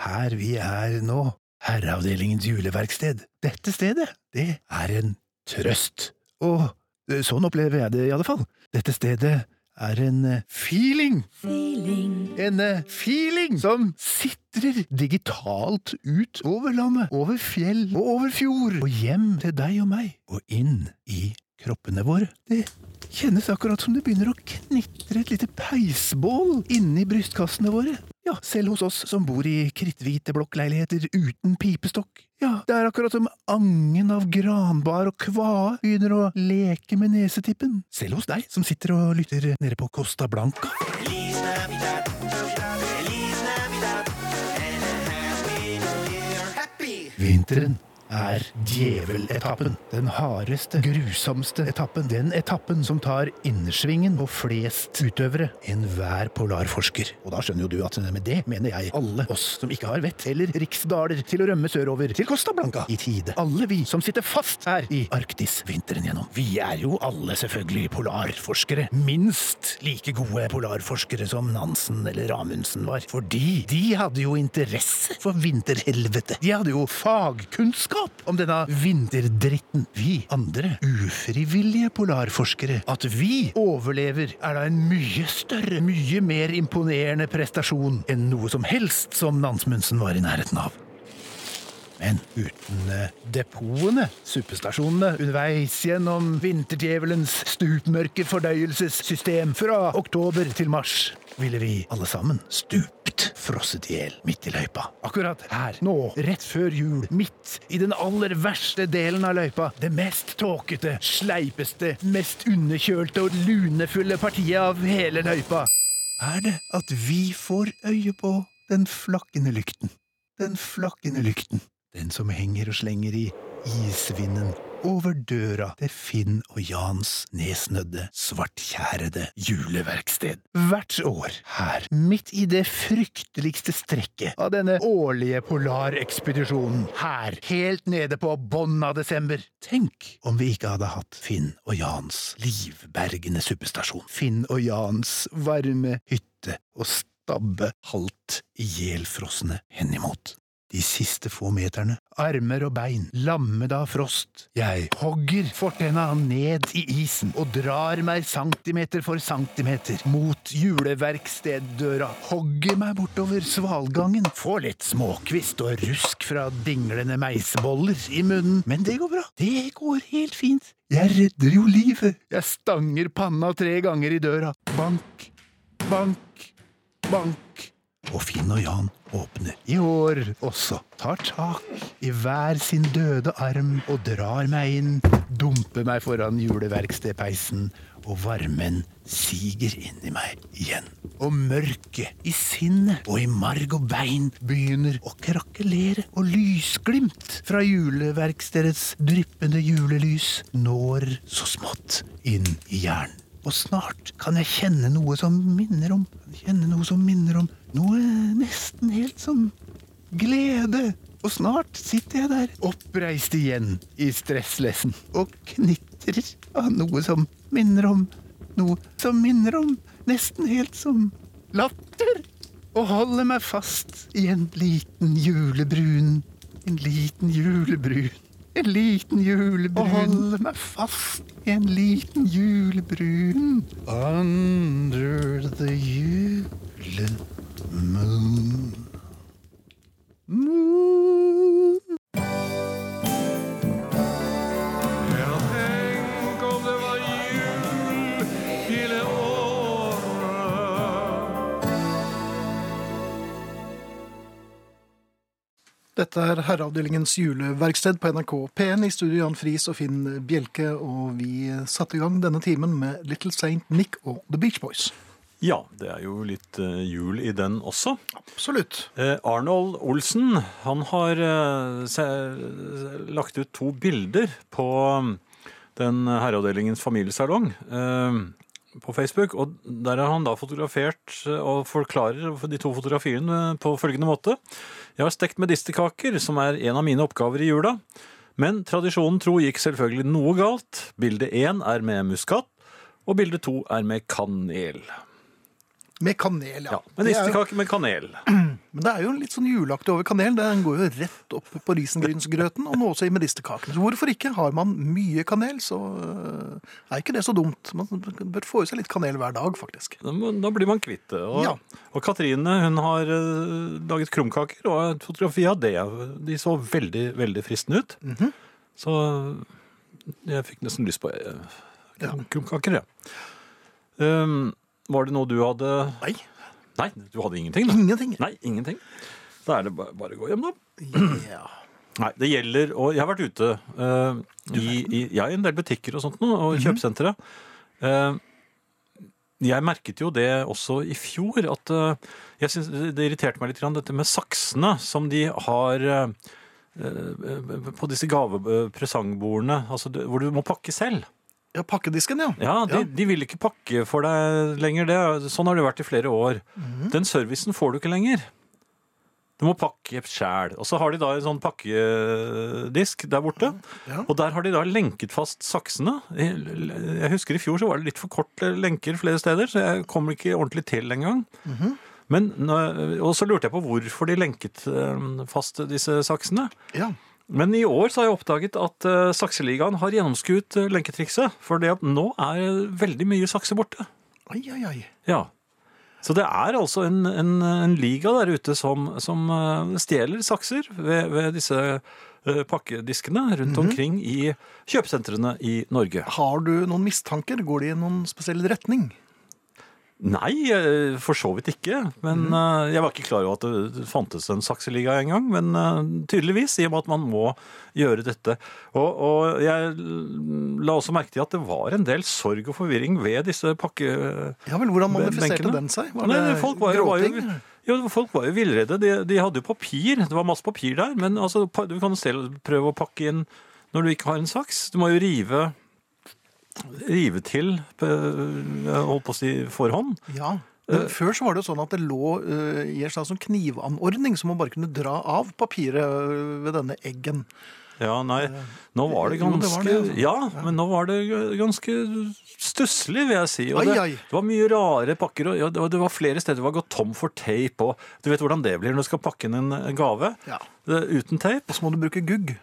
Speaker 8: her vi er nå, Herreavdelingens juleverksted, dette stedet, det er en trøst. Og eh, sånn opplever jeg det i alle fall. Dette stedet er en eh, feeling, en eh, feeling som sitrer digitalt ut over landet, over fjell og over fjord, og hjem til deg og meg, og inn i kroppene våre. Det Kjennes akkurat som det begynner å knitre et lite peisbål inni brystkassene våre. Ja, selv hos oss som bor i kritthvite blokkleiligheter uten pipestokk. Ja, det er akkurat som angen av granbar og kvae begynner å leke med nesetippen. Selv hos deg som sitter og lytter nede på Costa Blanca. Vinteren er djeveletappen. Den hardeste, grusomste etappen. Den etappen som tar innersvingen på flest utøvere. Enhver polarforsker. Og da skjønner jo du at med det mener jeg alle oss som ikke har vett eller riksdaler til å rømme sørover til Costa Blanca i tide. Alle vi som sitter fast her i Arktis vinteren gjennom. Vi er jo alle selvfølgelig polarforskere. Minst like gode polarforskere som Nansen eller Amundsen var. Fordi de hadde jo interesse for vinterhelvete. De hadde jo fagkunnskap om denne vinterdritten. Vi andre, ufrivillige polarforskere, at vi overlever, er da en mye større, mye mer imponerende prestasjon enn noe som helst som Nansmundsen var i nærheten av. Men uten eh, depotene, suppestasjonene, underveis gjennom vinterdjevelens stupmørke fordøyelsessystem fra oktober til mars, ville vi alle sammen stupt, frosset i hjel midt i løypa. Akkurat her, nå, rett før jul, midt i den aller verste delen av løypa, det mest tåkete, sleipeste, mest underkjølte og lunefulle partiet av hele løypa, er det at vi får øye på den flakkende lykten den flakkende lykten, den som henger og slenger i isvinden over døra til Finn og Jans nedsnødde, svartkjærede juleverksted. Hvert år, her, midt i det frykteligste strekket av denne årlige polarekspedisjonen, her, helt nede på bånn av desember. Tenk om vi ikke hadde hatt Finn og Jans livbergende suppestasjon, Finn og Jans varme hytte og stabbe halvt ihjelfrosne henimot. De siste få meterne, armer og bein, lammet av frost. Jeg hogger fortenna ned i isen og drar meg centimeter for centimeter mot juleverksteddøra. Hogger meg bortover svalgangen. Får litt småkvist og rusk fra dinglende meiseboller i munnen, men det går bra. Det går helt fint. Jeg redder jo livet. Jeg stanger panna tre ganger i døra. Bank, bank. Bank! Og Finn og Jan åpner. I år også. Tar tak i hver sin døde arm og drar meg inn. Dumper meg foran juleverkstedpeisen, og varmen siger inn i meg igjen. Og mørket i sinnet og i marg og bein begynner å krakelere, og lysglimt fra juleverkstedets dryppende julelys når så smått inn i hjernen. Og snart kan jeg kjenne noe som minner om Kjenne noe som minner om noe nesten helt som glede. Og snart sitter jeg der, oppreist igjen i stresslessen, og knitrer av noe som minner om noe som minner om nesten helt som latter. Og holder meg fast i en liten julebrun, en liten julebrun. En liten julebrun. Og holde meg fast i en liten julebrun. Under the julemoon. Moon.
Speaker 3: Dette er Herreavdelingens juleverksted på NRK P1 i studio Jan Friis og Finn Bjelke, og vi satte i gang denne timen med Little Saint Nick og The Beach Boys.
Speaker 4: Ja, det er jo litt eh, jul i den også.
Speaker 3: Absolutt.
Speaker 4: Eh, Arnold Olsen han har eh, se, lagt ut to bilder på mm, den herreavdelingens familiesalong eh, på Facebook. Og der har han da fotografert eh, og forklarer de to fotografiene eh, på følgende måte. Jeg har stekt medisterkaker, som er en av mine oppgaver i jula. Men tradisjonen tro gikk selvfølgelig noe galt. Bilde én er med muskat, og bilde to er med kanel.
Speaker 3: Med kanel, ja.
Speaker 4: Ja, Medisterkake med kanel.
Speaker 3: Men det er jo litt sånn juleaktig over kanel. Den går jo rett opp på risengrynsgrøten, og nå også i medisterkakene. Så hvorfor ikke? Har man mye kanel, så øh, er ikke det så dumt. Man bør få i seg litt kanel hver dag, faktisk.
Speaker 4: Da må- da blir man kvitt det. Og,
Speaker 3: Ja.
Speaker 4: og Katrine hun har eh, laget krumkaker og et fotografi av det. De så
Speaker 3: Mhm.
Speaker 4: veldig veldig fristende ut. Så jeg fikk nesten lyst på eh,
Speaker 3: Ja.
Speaker 4: Kumkaker, ja. Um, var det noe du hadde
Speaker 3: Nei,
Speaker 4: Nei, du hadde ingenting? Da.
Speaker 3: ingenting.
Speaker 4: Nei, ingenting. Da er det ba- bare å gå hjem, da.
Speaker 3: Ja.
Speaker 4: Nei, det gjelder Og jeg har vært ute eh, i, i, ja, i en del butikker og sånt nå, og kjøpesentre. Eh, jeg merket jo det også i fjor, at eh, jeg synes det irriterte meg litt grann, dette med saksene som de har eh, eh, på disse gavepresangbordene, altså, det- hvor du må pakke selv.
Speaker 3: ja, pakkedisken, ja.
Speaker 4: Ja, de,
Speaker 3: Ja.
Speaker 4: de vil ikke pakke for deg lenger. Det, er- sånn har det vært i flere år. Den servicen får du ikke lenger. Du må pakke sjæl. Og så har de da en sånn pakkedisk der borte.
Speaker 3: Ja.
Speaker 4: Og der har de da lenket fast saksene. Jeg jeg husker i fjor så var det litt for kort lenker flere steder, så jeg kom ikke ordentlig til engang. Men, nå- og så lurte jeg på hvorfor de lenket eh, fast disse saksene.
Speaker 3: ja.
Speaker 4: Men i år så har jeg oppdaget at eh, sakseligaen har gjennomskuet eh, lenketrikset. For det at nå er veldig mye sakser borte.
Speaker 3: Ai, ai, ai.
Speaker 4: Ja. Så det er altså en, en, en liga der ute som, som eh, stjeler sakser ved, ved disse eh, pakkediskene rundt omkring i kjøpesentrene i Norge.
Speaker 3: Har du noen mistanker? Går de i noen spesiell retning?
Speaker 4: Nei, eh, for så vidt ikke. Men eh, jeg var ikke klar over at det- det fantes en sakseliga engang. Men eh, tydeligvis, i og med at man må gjøre dette. Og, og jeg la også merke til at det var en del sorg og forvirring ved disse pakke...
Speaker 3: Ja vel, Hvordan manifesterte
Speaker 4: Benkene?
Speaker 3: den seg? Var
Speaker 4: Nei,
Speaker 3: det
Speaker 4: folk var jo, var jo,
Speaker 3: gråting?
Speaker 4: jo, folk var jo villredde. De, de hadde jo papir. Det var masse papir der. Men altså, pa- du kan selv prøve å pakke inn når du ikke har en saks. Du må jo rive Rive til, på- jeg holdt på å si, forhånd.
Speaker 3: Ja.
Speaker 4: Eh,
Speaker 3: Men før så var det jo sånn at det lå eh, i en slags sånn knivanordning som man bare kunne dra av papiret eh, ved denne eggen.
Speaker 4: Ja, nei, nå var det
Speaker 3: Jo, det
Speaker 4: ganske
Speaker 3: var det, altså.
Speaker 4: Ja, men nå var det ganske stusslig, vil jeg si. Og
Speaker 3: Ai,
Speaker 4: det,
Speaker 3: ai.
Speaker 4: det var mye rare pakker, og ja, det var- det var flere steder det var gått tom for teip. Og du vet hvordan det blir når du skal pakke inn en en gave
Speaker 3: Ja.
Speaker 4: det, uten teip?
Speaker 3: Og så må du bruke gugg.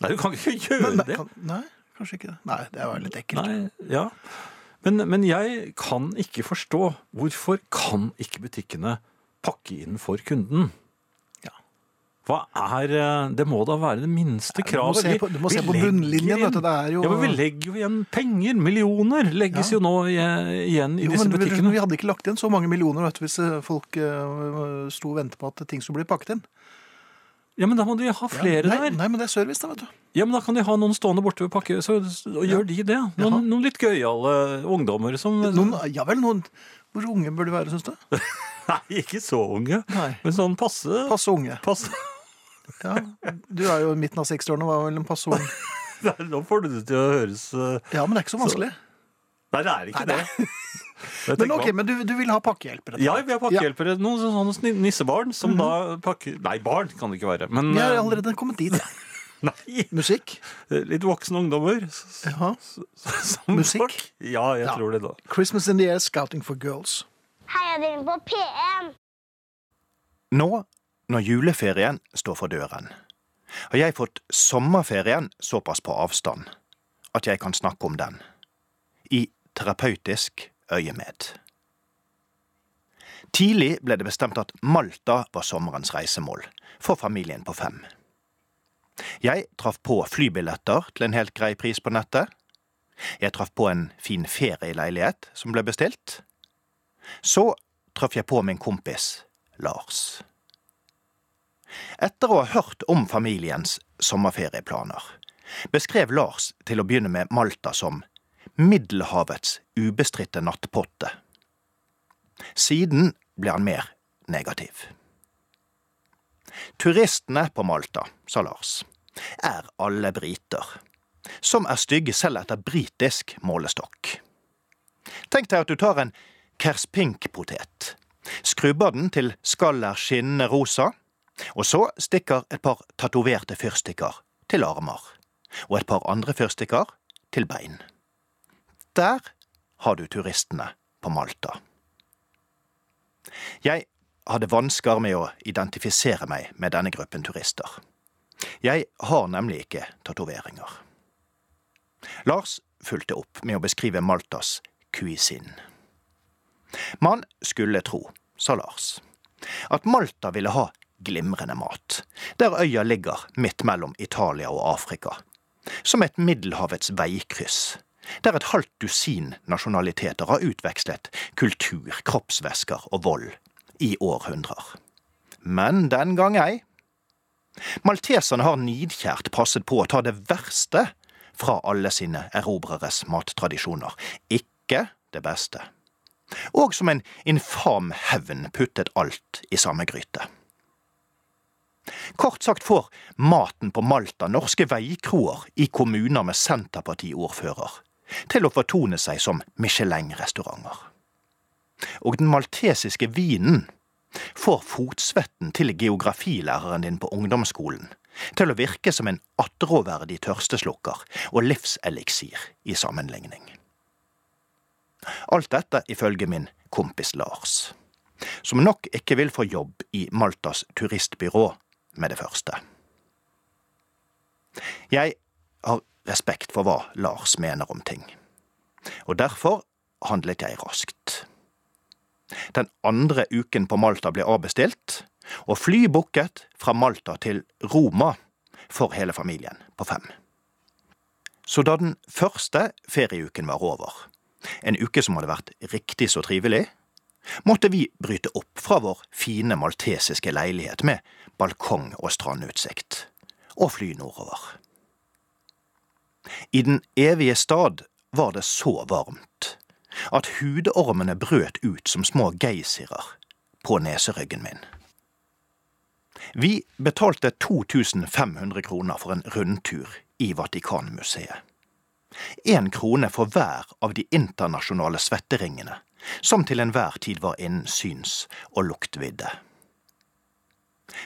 Speaker 4: Nei, du kan ikke gjøre
Speaker 3: Nei,
Speaker 4: det.
Speaker 3: kan, nei, kanskje ikke det. Nei, det var litt ekkelt.
Speaker 4: Nei, ja. Men, men jeg kan ikke forstå hvorfor kan ikke butikkene pakke inn for kunden?
Speaker 3: Ja.
Speaker 4: Hva er eh, Det må da være det minste
Speaker 3: Du må
Speaker 4: kravet.
Speaker 3: se
Speaker 4: Vi-
Speaker 3: på, du må
Speaker 4: vi
Speaker 3: se på
Speaker 4: legger
Speaker 3: bunnlinjen, vet du. Det er jo
Speaker 4: Ja, men Vi legger jo igjen penger. Millioner legges
Speaker 3: Ja.
Speaker 4: jo nå i- igjen i
Speaker 3: Jo,
Speaker 4: disse
Speaker 3: men vi-
Speaker 4: butikkene.
Speaker 3: Vi hadde ikke lagt igjen så mange millioner vet du, hvis eh, folk eh, sto og ventet på at ting skulle bli pakket inn.
Speaker 4: Ja, Men da må de ha flere
Speaker 3: nei,
Speaker 4: der.
Speaker 3: Nei, men det er service, da, vet du.
Speaker 4: Ja, men Da kan de ha noen stående borte ved pakke, så og gjør de det. Noen, noen litt gøyale ungdommer som
Speaker 3: Noen, ja vel, noen Hvor unge bør de være, syns du?
Speaker 4: Nei, ikke så unge,
Speaker 3: Nei.
Speaker 4: men sånn passe.
Speaker 3: Passe unge.
Speaker 4: passe.
Speaker 3: Ja. Du er jo i midten av 60-årene og var vel en passe ung.
Speaker 4: Nei, nå får du det til å høres eh,
Speaker 3: Ja, men det er ikke så vanskelig.
Speaker 4: Nei, det er ikke det.
Speaker 3: Men
Speaker 4: Jeg tenker
Speaker 3: ok,
Speaker 4: på-
Speaker 3: men du, du vil ha pakkehjelp? rett og
Speaker 4: Ja,
Speaker 3: slett.
Speaker 4: vi har pakkehjelpere. Noen sånn, sånne sni- nissebarn som da pakker Nei, barn kan det ikke være. Men
Speaker 3: Vi Mhm. har
Speaker 4: eh,
Speaker 3: allerede kommet dit.
Speaker 4: nei,
Speaker 3: Musikk.
Speaker 4: litt voksne ungdommer. s- s-
Speaker 3: Ja.
Speaker 4: Som
Speaker 3: Musikk?
Speaker 4: folk. Ja, jeg
Speaker 3: Ja.
Speaker 4: tror det, da.
Speaker 3: 'Christmas in the Air Scouting for Girls'.
Speaker 2: Heiavdelingen på P1.
Speaker 8: Nå, når juleferien står for døren, har jeg fått sommerferien såpass på avstand at jeg kan snakke om den, i terapeutisk øyemed. Tidlig ble det bestemt at Malta var sommerens reisemål for familien på fem. Jeg traff på flybilletter til en helt grei pris på nettet. Jeg traff på en fin ferieleilighet som ble bestilt. Så traff jeg på min kompis Lars. Etter å ha hørt om familiens sommerferieplaner, beskrev Lars til å begynne med Malta som Middelhavets ubestridte nattpotte. Siden ble han mer negativ. Turistene på Malta, sa Lars, er alle briter, som er stygge selv etter britisk målestokk. Tenk deg at du tar en kerspink-potet, skrubber den til skallet er skinnende rosa, og så stikker et par tatoverte fyrstikker til armer, og et par andre fyrstikker til bein. Der har du turistene på Malta. Jeg hadde vansker med å identifisere meg med denne gruppen turister. Jeg har nemlig ikke tatoveringer. Lars fulgte opp med å beskrive Maltas cuisine. Man skulle tro, sa Lars, at Malta ville ha glimrende mat, der øya ligger midt mellom Italia og Afrika, som et Middelhavets veikryss, der et halvt dusin nasjonaliteter har utvekslet kultur, kroppsvæsker og vold i århundrer. Men den gang ei. Malteserne har nidkjært passet på å ta det verste fra alle sine erobreres mattradisjoner, ikke det beste. Og som en infam hevn puttet alt i samme gryte. Kort sagt får maten på Malta norske veikroer i kommuner med Senterpartiordfører til å fortone seg som Michelin-restauranter. Og den maltesiske vinen får fotsvetten til geografilæreren din på ungdomsskolen til å virke som en attråverdig tørsteslukker og livseliksir i sammenligning. Alt dette ifølge min kompis Lars, som nok ikke vil få jobb i Maltas turistbyrå med det første. Jeg har respekt for hva Lars mener om ting, og derfor handlet jeg raskt. Den andre uken på Malta ble avbestilt, og fly booket fra Malta til Roma for hele familien på fem. Så da den første ferieuken var over, en uke som hadde vært riktig så trivelig, måtte vi bryte opp fra vår fine maltesiske leilighet med balkong og strandutsikt, og fly nordover. I den evige stad var det så varmt at hudormene brøt ut som små geysirer på neseryggen min. Vi betalte 2500 kroner for en rundtur i Vatikanmuseet. Én krone for hver av de internasjonale svetteringene, som til enhver tid var innen syns- og luktvidde.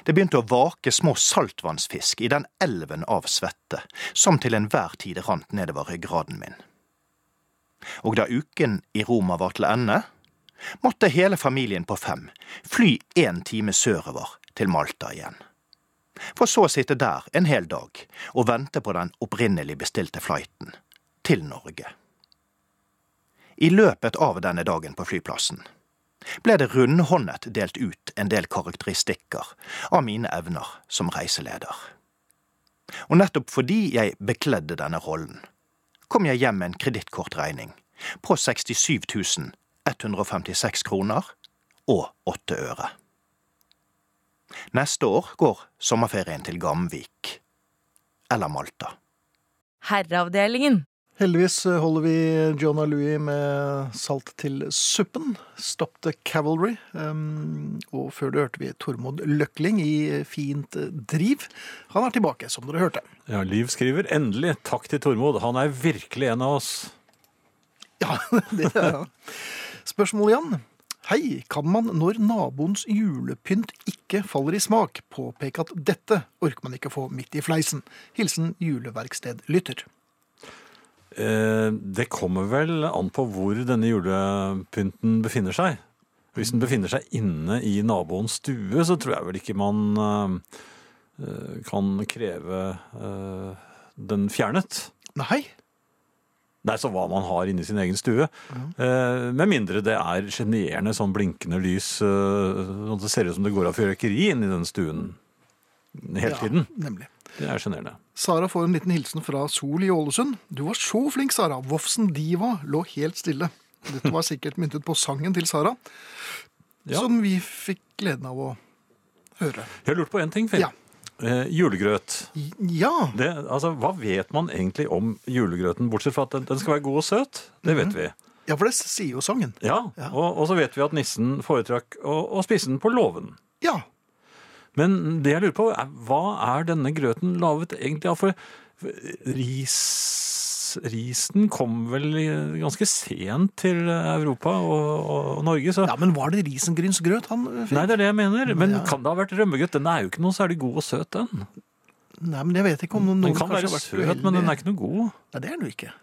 Speaker 8: Det begynte å vake små saltvannsfisk i den elven av svette som til enhver tid rant nedover ryggraden min. Og da uken i Roma var til ende, måtte hele familien på fem fly én time sørover til Malta igjen. For så å sitte der en hel dag og vente på den opprinnelig bestilte flighten til Norge. I løpet av denne dagen på flyplassen ble det rundhåndet delt ut en del karakteristikker av mine evner som reiseleder. Og nettopp fordi jeg bekledde denne rollen, kom jeg hjem med en kredittkortregning på 67 156 kroner og 8 øre. Neste år går sommerferien til Gamvik. Eller Malta.
Speaker 1: Herreavdelingen.
Speaker 3: Heldigvis eh, holder vi Jonah Louie med salt til suppen. Stop the Cavalry. Um, og før det hørte vi Tormod Løkling i Fint driv. Han er tilbake, som dere hørte.
Speaker 4: Ja, Liv skriver endelig takk til Tormod. Han er virkelig en av oss.
Speaker 3: Ja, det er han. Spørsmål igjen. Hei, kan man når naboens julepynt ikke faller i smak, påpeke at dette orker man ikke få midt i fleisen? Hilsen juleverkstedlytter.
Speaker 4: Eh, Det kommer vel an på hvor denne julepynten befinner seg. Hvis den befinner seg inne i naboens stue, så tror jeg vel ikke man eh, eh, kan kreve eh, den fjernet.
Speaker 3: Nei,
Speaker 4: Nei, så hva man har inni sin egen stue. Eh, med mindre det er sjenerende sånn blinkende lys, eh, sånn at det ser ut som det går av fyrverkeri inni den stuen hele tiden.
Speaker 3: Ja, nemlig.
Speaker 4: Det er sjenerende.
Speaker 3: Sara får en liten hilsen fra Sol i Ålesund. Du var så flink, Sara. Vofsen Diva lå helt stille. Dette var sikkert myntet på sangen til Sara,
Speaker 4: Ja.
Speaker 3: som vi fikk gleden av å høre.
Speaker 4: Jeg har lurt på én ting, Finn.
Speaker 3: Ja.
Speaker 4: Eh, julegrøt.
Speaker 3: Ja,
Speaker 4: Det, altså, hva vet man egentlig om julegrøten, bortsett fra at den, den skal være god og søt? Det vet vi.
Speaker 3: ja for det sier jo sangen.
Speaker 4: Ja,
Speaker 3: Mhm. Ja.
Speaker 4: Og, og så vet vi at nissen foretrakk å, å spise den på låven.
Speaker 3: Ja,
Speaker 4: Men det jeg lurer på, er hva er denne grøten laget egentlig av? For for ris, risen kom vel i- ganske sent til Europa og, og Norge, så
Speaker 3: ja men var det risengrynsgrøt han eh, fikk?
Speaker 4: Nei, det er det jeg mener. Men
Speaker 3: Ja.
Speaker 4: kan det ha vært rømmegrøt? Den er jo ikke noe særlig god og søt, den.
Speaker 3: Nei, men jeg vet ikke om noen
Speaker 4: Den kan
Speaker 3: kanskje
Speaker 4: være
Speaker 3: har vært
Speaker 4: søt, men den er ikke noe god.
Speaker 3: Nei, det er den jo ikke.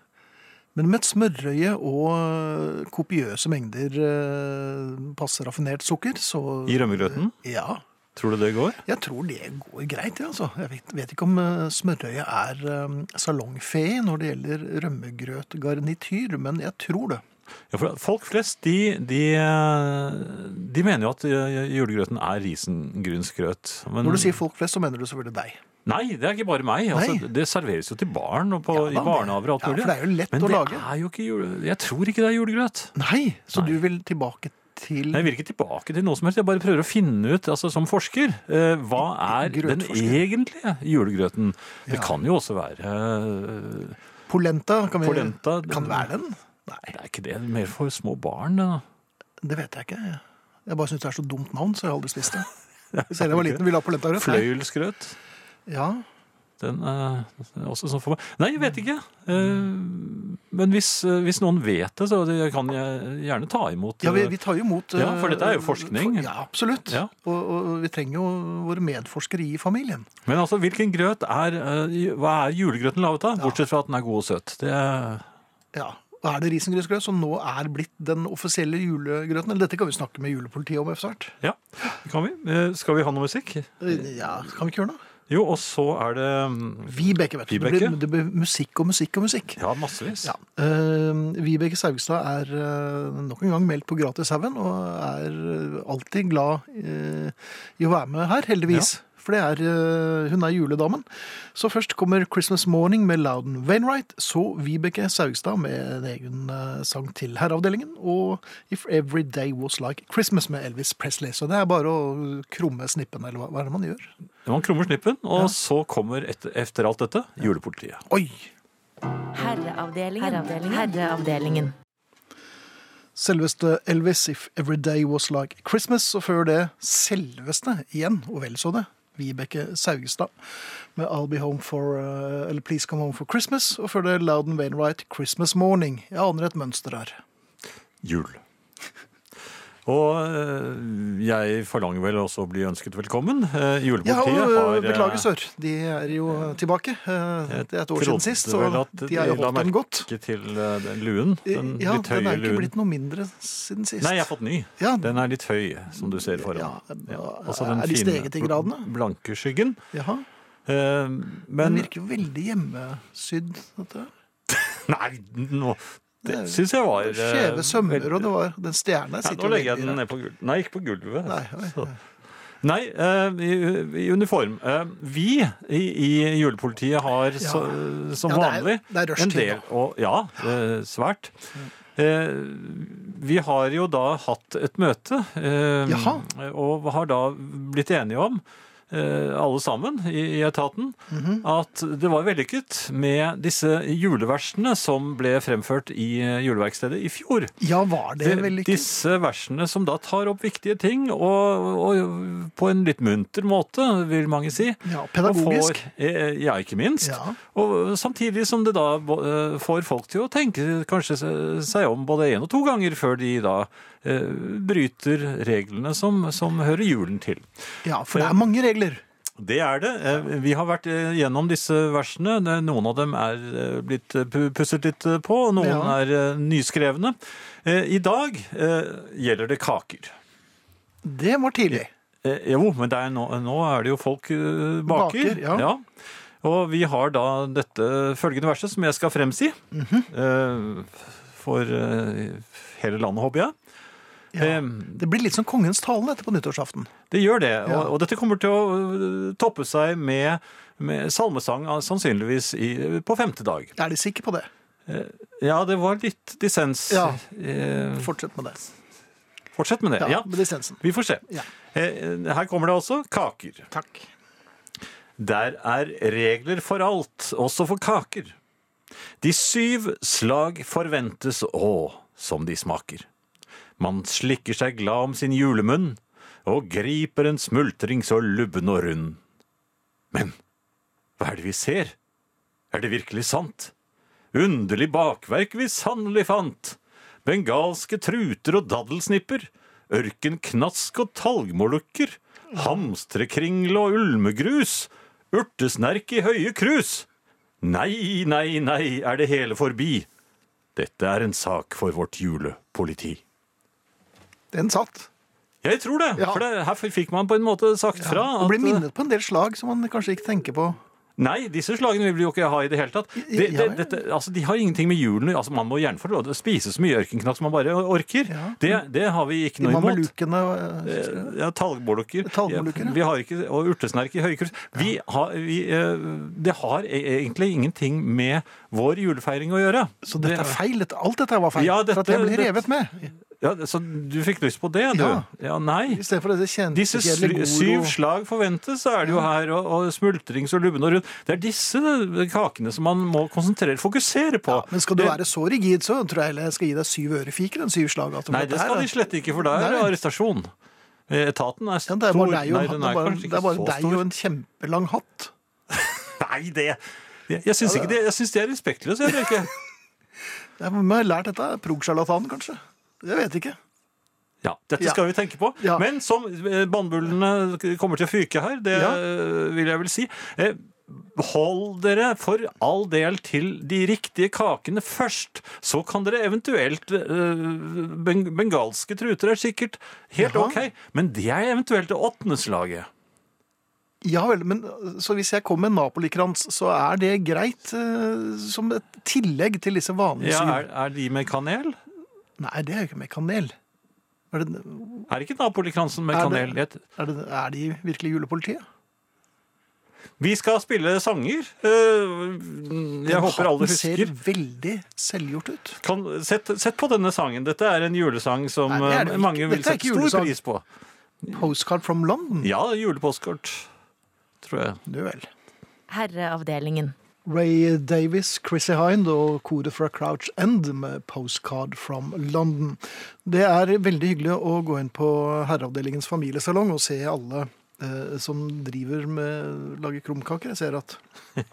Speaker 3: Men med et smørøye og øh, kopiøse mengder øh, passe raffinert sukker, så
Speaker 4: I rømmegrøten?
Speaker 3: Ja.
Speaker 4: Tror du det går?
Speaker 3: Jeg tror det går greit, ja, altså. Jeg vet, vet ikke om øh, smørøye er øh, salongfe når det gjelder rømmegrøtgarnityr, men jeg tror det.
Speaker 4: Ja, for folk flest de, de, de mener jo at eh, julegrøten er risengrynsgrøt. Men Mm.
Speaker 3: Når du sier folk flest, så mener du selvfølgelig deg.
Speaker 4: Nei, det er ikke bare meg. Altså,
Speaker 3: Nei.
Speaker 4: det serveres jo til barn og på,
Speaker 3: Ja, da,
Speaker 4: i barnehaver og alt
Speaker 3: ja,
Speaker 4: mulig.
Speaker 3: for det er jo lett
Speaker 4: Men
Speaker 3: å
Speaker 4: det
Speaker 3: lage.
Speaker 4: er jo ikke jule... Jeg tror ikke det er julegrøt.
Speaker 3: Nei, så
Speaker 4: Nei.
Speaker 3: du vil tilbake til
Speaker 4: Jeg vil ikke tilbake til noe som helst. Jeg bare prøver å finne ut, altså som forsker, eh, hva er den
Speaker 3: Grøtforsker.
Speaker 4: egentlige julegrøten? Det
Speaker 3: Ja.
Speaker 4: kan jo også være eh,
Speaker 3: polenta? Kan vi...
Speaker 4: polenta.
Speaker 3: Kan det være den?
Speaker 4: Det er ikke det, det er mer for små barn. det Da.
Speaker 3: Det vet jeg ikke. Jeg bare syns det er så dumt navn, så jeg har aldri spist det. Selv jeg var liten, ville ha polentagrøt. Nei.
Speaker 4: Fløyelsgrøt.
Speaker 3: Ja,
Speaker 4: Den eh, den er også sånn for meg. Nei, jeg vet ikke. Eh, men hvis, eh, hvis noen vet det, så det kan jeg gjerne ta imot.
Speaker 3: ja vi,
Speaker 4: eh,
Speaker 3: vi tar jo imot
Speaker 4: Ja, for
Speaker 3: eh,
Speaker 4: dette er jo forskning.
Speaker 3: for- Ja, absolutt.
Speaker 4: Ja.
Speaker 3: Og, og vi trenger jo våre medforskere i familien.
Speaker 4: Men altså, hvilken grøt er eh, ju- Hva er julegrøten laget av? Bortsett fra at den er god og søt. Det er,
Speaker 3: Ja. Og er det risengrynsgrøt som nå er blitt den offisielle julegrøten? Eller dette kan vi snakke med julepolitiet om etter hvert.
Speaker 4: ja, det kan vi. Eh, skal vi ha noe musikk?
Speaker 3: Ja, kan vi ikke gjøre noe?
Speaker 4: Jo, og så er det mm,
Speaker 3: Vibeke, vet du. Det blir,
Speaker 4: Vibeke?
Speaker 3: det blir musikk og musikk og musikk.
Speaker 4: Ja, massevis.
Speaker 3: Ja. Eh, Vibeke Saugstad er eh, nok en gang meldt på Gratishaugen, og er eh, alltid glad eh, i å være med her, heldigvis. For det er, eh, hun er juledamen. Så først kommer 'Christmas Morning' med Loudon Wainwright. Så Vibeke Saugstad med en egen eh, sang til herreavdelingen. Og 'If Every Day Was Like Christmas' med Elvis Presley. Så det er bare å krumme snippen, eller hva, hva er det man gjør?
Speaker 4: Man krummer snippen, og så kommer etter, etter alt dette julepolitiet.
Speaker 3: Oi!
Speaker 9: Herreavdelingen. Herreavdelingen.
Speaker 3: Selveste Elvis, If Every Day Was Like Christmas, og før det selveste igjen, og vel så det, Vibeke Saugestad med I'll Be Home For, eh, eller Please Come Home For Christmas, og før det Loudon Wainwright, Christmas Morning. Jeg aner et mønster her.
Speaker 4: Jul. Og eh, jeg forlanger vel også å bli ønsket velkommen. Eh,
Speaker 3: Ja, og
Speaker 4: Julepolitiet
Speaker 3: eh,
Speaker 4: har eh,
Speaker 3: beklager Sør, de er jo tilbake. Eh, Det er et år siden
Speaker 4: trodde
Speaker 3: sist,
Speaker 4: vel
Speaker 3: så
Speaker 4: at
Speaker 3: de har jo
Speaker 4: la
Speaker 3: holdt dem godt.
Speaker 4: merke til eh, den luen. Den
Speaker 3: Ja,
Speaker 4: litt
Speaker 3: den
Speaker 4: høye
Speaker 3: er ikke
Speaker 4: luen.
Speaker 3: blitt noe mindre siden sist.
Speaker 4: Nei, jeg har fått ny.
Speaker 3: Ja.
Speaker 4: Den er litt høy, som du ser foran.
Speaker 3: Ja,
Speaker 4: altså den
Speaker 3: er de
Speaker 4: fine
Speaker 3: steget i gradene?
Speaker 4: Blanke skyggen.
Speaker 3: Jaha.
Speaker 4: Eh,
Speaker 3: Den
Speaker 4: men
Speaker 3: virker jo veldig hjemmesydd, dette.
Speaker 4: Nei, nå Det syns jeg var eh,
Speaker 3: Skjeve sømmer,
Speaker 4: veldig-
Speaker 3: og det var den stjerna
Speaker 4: ja,
Speaker 3: sitter
Speaker 4: Nå
Speaker 3: jo
Speaker 4: legger jeg
Speaker 3: veldig
Speaker 4: den
Speaker 3: rart.
Speaker 4: ned på gulvet. Nei, ikke på gulvet.
Speaker 3: Nei, oi,
Speaker 4: Så- Nei, eh, i, i uniform. Eh, vi i, i julepolitiet har så,
Speaker 3: Ja,
Speaker 4: som
Speaker 3: det er-
Speaker 4: vanlig
Speaker 3: det er
Speaker 4: en
Speaker 3: rushtid Mm.
Speaker 4: del og, Ja, eh, svært. Eh, vi har jo da hatt et møte, eh,
Speaker 3: Jaha.
Speaker 4: og har da blitt enige om eh, alle sammen i, i etaten,
Speaker 3: Mhm.
Speaker 4: at det var vellykket med disse juleversene som ble fremført i eh, juleverkstedet i fjor.
Speaker 3: Ja, var det,
Speaker 4: Det-
Speaker 3: vel ikke?
Speaker 4: Disse versene som da tar opp viktige ting, og, og på en litt munter måte, vil mange si.
Speaker 3: Ja, pedagogisk.
Speaker 4: Og får- eh, ja, ikke minst.
Speaker 3: Ja.
Speaker 4: Og samtidig som det da eh, får folk til å tenke kanskje se- seg om både én og to ganger før de da eh, bryter reglene som, som hører julen til.
Speaker 3: Ja, for det er mange regler.
Speaker 4: Det er det. Eh, Vi har vært eh, gjennom disse versene. Det- Noen av dem er eh, blitt eh, pu- pusset litt eh, på, og noen
Speaker 3: Ja.
Speaker 4: er eh, nyskrevne. Eh, I dag eh, gjelder det kaker.
Speaker 3: Det var tidlig.
Speaker 4: Eh, Jo, men det er nå, nå er det jo folk eh, baker.
Speaker 3: Baker, ja.
Speaker 4: Og vi har da dette følgende verset, som jeg skal fremsi.
Speaker 3: Mhm.
Speaker 4: Eh, For eh, hele landet, håper jeg.
Speaker 3: Ja.
Speaker 4: Eh,
Speaker 3: Det blir litt som kongens tale dette på nyttårsaften.
Speaker 4: Det gjør det,
Speaker 3: Ja.
Speaker 4: og, og dette kommer til å øh, toppe seg med, med salmesang ah, sannsynligvis i, på femte dag.
Speaker 3: Er de sikre på det?
Speaker 4: Ja, det var litt dissens.
Speaker 3: Ja.
Speaker 4: Eh,
Speaker 3: Fortsett med det.
Speaker 4: fortsett med det.
Speaker 3: Ja,
Speaker 4: Ja,
Speaker 3: Med dissensen.
Speaker 4: Vi får se.
Speaker 3: Ja.
Speaker 4: Eh, her kommer det altså kaker.
Speaker 3: Takk.
Speaker 4: Der er regler for alt, også for kaker. De syv slag forventes å, som de smaker. Man slikker seg glad om sin julemunn, og griper en smultring så lubben og rund. Men hva er det vi ser? Er det virkelig sant? Underlig bakverk vi sannelig fant. Bengalske truter og daddelsnipper. Ørkenknask og talgmolukker. Hamstrekringle og ulmegrus. Urtesnerk i høye krus. Nei, nei, nei, er det hele forbi. Dette er en sak for vårt julepoliti.
Speaker 3: Den satt.
Speaker 4: Jeg tror det,
Speaker 3: Ja.
Speaker 4: for det, her fikk man på en måte sagt fra
Speaker 3: Og ble minnet på en del slag som man kanskje ikke tenker på.
Speaker 4: Nei, disse slagene vil vi jo ikke ha i det hele tatt. Det, det,
Speaker 3: Ja, ja.
Speaker 4: dette, altså, de har ingenting med hjulene altså, Man må gjerne få lov til å spise så mye ørkenknapp som man bare orker. Det, det har vi ikke
Speaker 3: De
Speaker 4: noe imot.
Speaker 3: mamelukene eh,
Speaker 4: Eh, Ja, talgmålukker.
Speaker 3: Talgmålukker, ja.
Speaker 4: Vi har ikke, og urtesnerk i høykurs. Vi har, vi, eh, det har e- egentlig ingenting med vår julefeiring å gjøre.
Speaker 3: Så dette er feil. Dette- Alt dette var feil.
Speaker 4: Ja,
Speaker 3: for at jeg
Speaker 4: dette-
Speaker 3: ble revet med.
Speaker 4: Ja, så du fikk lyst på det, du?
Speaker 3: Ja.
Speaker 4: ja nei.
Speaker 3: I stedet for dette
Speaker 4: Disse sly-
Speaker 3: kjente
Speaker 4: syv slag forventes, så er det jo her, og, og smultring så lubben og rundt. Det er disse eh, kakene som man må konsentrere, fokusere på.
Speaker 3: Men skal du
Speaker 4: Det-
Speaker 3: være så rigid, så tror jeg heller jeg skal gi deg syv ørefiker enn syv slag.
Speaker 4: Nei, det skal de slett ikke, for da er det
Speaker 3: Nei.
Speaker 4: arrestasjon. Eh, Etaten er
Speaker 3: ja,
Speaker 4: stor.
Speaker 3: det er bare deg og en
Speaker 4: Nei,
Speaker 3: hatt.
Speaker 4: den
Speaker 3: Det
Speaker 4: er
Speaker 3: er bare,
Speaker 4: kanskje
Speaker 3: det
Speaker 4: ikke
Speaker 3: er bare
Speaker 4: så
Speaker 3: deg
Speaker 4: stor.
Speaker 3: og en kjempelang hatt.
Speaker 4: Nei, det Jeg, jeg syns ikke det. Jeg syns det er respektløst, jeg, Bjørke.
Speaker 3: Jeg har lært dette. Progsjarlatan, kanskje. Jeg vet ikke.
Speaker 4: Ja, dette
Speaker 3: Ja.
Speaker 4: skal vi tenke på.
Speaker 3: Ja.
Speaker 4: Men som eh, bannbullene kommer til å fyke her, det
Speaker 3: Ja.
Speaker 4: eh, vil jeg vel si. Eh, Hold dere for all del til de riktige kakene først. Så kan dere eventuelt eh, beng Bengalske truter er sikkert helt
Speaker 3: Jaha.
Speaker 4: ok, men det er eventuelt det åttende slaget.
Speaker 3: Ja vel, men øh, Så hvis jeg kommer med napolikrans, så er det greit eh, som et tillegg til disse vanlige
Speaker 4: Ja,
Speaker 3: syv?
Speaker 4: er, er de med kanel?
Speaker 3: Nei, det er jo ikke med kanel. Er, det,
Speaker 4: Er ikke napolikransen med
Speaker 3: Er
Speaker 4: kanel?
Speaker 3: det- er, det, er de virkelig julepolitiet?
Speaker 4: Vi skal spille sanger. Eh, Jeg håper alle
Speaker 3: Den
Speaker 4: husker.
Speaker 3: ser veldig selvgjort ut.
Speaker 4: kan, sett, sett på denne sangen. Dette er en julesang som
Speaker 3: Nei, det er det
Speaker 4: eh,
Speaker 3: ikke.
Speaker 4: mange vil
Speaker 3: Dette er
Speaker 4: sette
Speaker 3: ikke julesang.
Speaker 4: stor pris på.
Speaker 3: Postcard from London?
Speaker 4: Ja, julepostkort, tror jeg.
Speaker 3: Du vel.
Speaker 9: Herreavdelingen.
Speaker 3: Ray Davis, Chrissy Hind og koret fra Crouch End med 'Postcard from London'. Det er veldig hyggelig å gå inn på Herreavdelingens familiesalong og se alle eh, som driver med lager krumkaker. Jeg ser at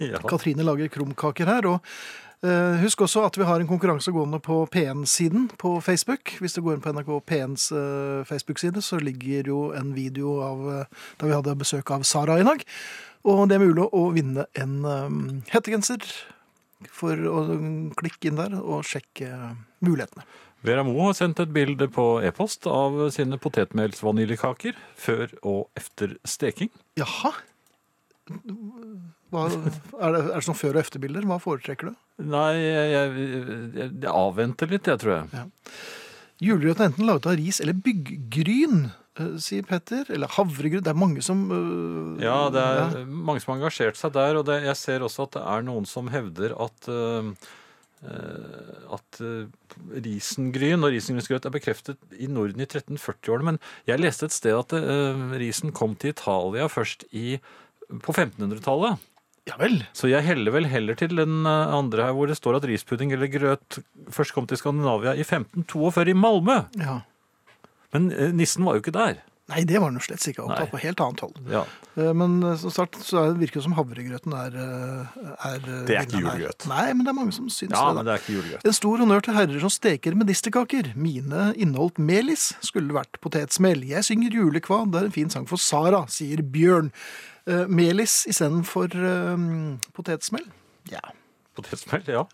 Speaker 4: Ja.
Speaker 3: Katrine lager krumkaker her. og eh, Husk også at vi har en konkurranse gående på P1-siden på Facebook. Hvis du går inn på NRK P1s eh, Facebook-side, så ligger jo en video av eh, da vi hadde besøk av Sara i dag. Og det er mulig å vinne en eh, hettegenser for å klikke inn der og sjekke mulighetene.
Speaker 4: Vera Moe har sendt et bilde på e-post av sine potetmelsvaniljekaker før og efter steking.
Speaker 3: Jaha. Hva, er, det, er det sånn før- og efterbilder? Hva foretrekker du?
Speaker 4: Nei, jeg, jeg, jeg, jeg avventer litt, jeg, tror jeg.
Speaker 3: Julegrøten er enten laget av ris eller byggryn, eh, sier Petter. Eller havregryn. Det er mange som eh,
Speaker 4: Ja, det er mange som har engasjert seg der, og det, jeg ser også at det er noen som hevder at eh, eh, at eh, risengryn og risengrynsgrøt er bekreftet i Norden i 1340-årene. Men jeg leste et sted at eh, risen kom til Italia først i, på 1500-tallet.
Speaker 3: Ja vel.
Speaker 4: Så jeg heller vel heller til den eh, andre her hvor det står at rispudding eller grøt først kom til Skandinavia i 1542 i Malmö.
Speaker 3: Ja.
Speaker 4: Men eh, nissen var jo ikke der.
Speaker 3: Nei, det var han jo slett ikke. Han var
Speaker 4: Nei.
Speaker 3: på helt annet hold.
Speaker 4: Ja,
Speaker 3: Eh, Men eh, som sagt, så er- virker det som havregrøten er, eh, er eh,
Speaker 4: Det er ikke
Speaker 3: vinneren her.
Speaker 4: julegrøt.
Speaker 3: Nei, men det er mange som syns
Speaker 4: ja
Speaker 3: det. da.
Speaker 4: men det er ikke julegrøt.
Speaker 3: En stor honnør til herrer som steker medisterkaker. Mine inneholdt melis, skulle vært potetsmel. Jeg synger julekvad, det er en fin sang for Sara, sier Bjørn. Eh, melis istedenfor uh, potetsmel. Ja.
Speaker 4: Potetsmell, ja.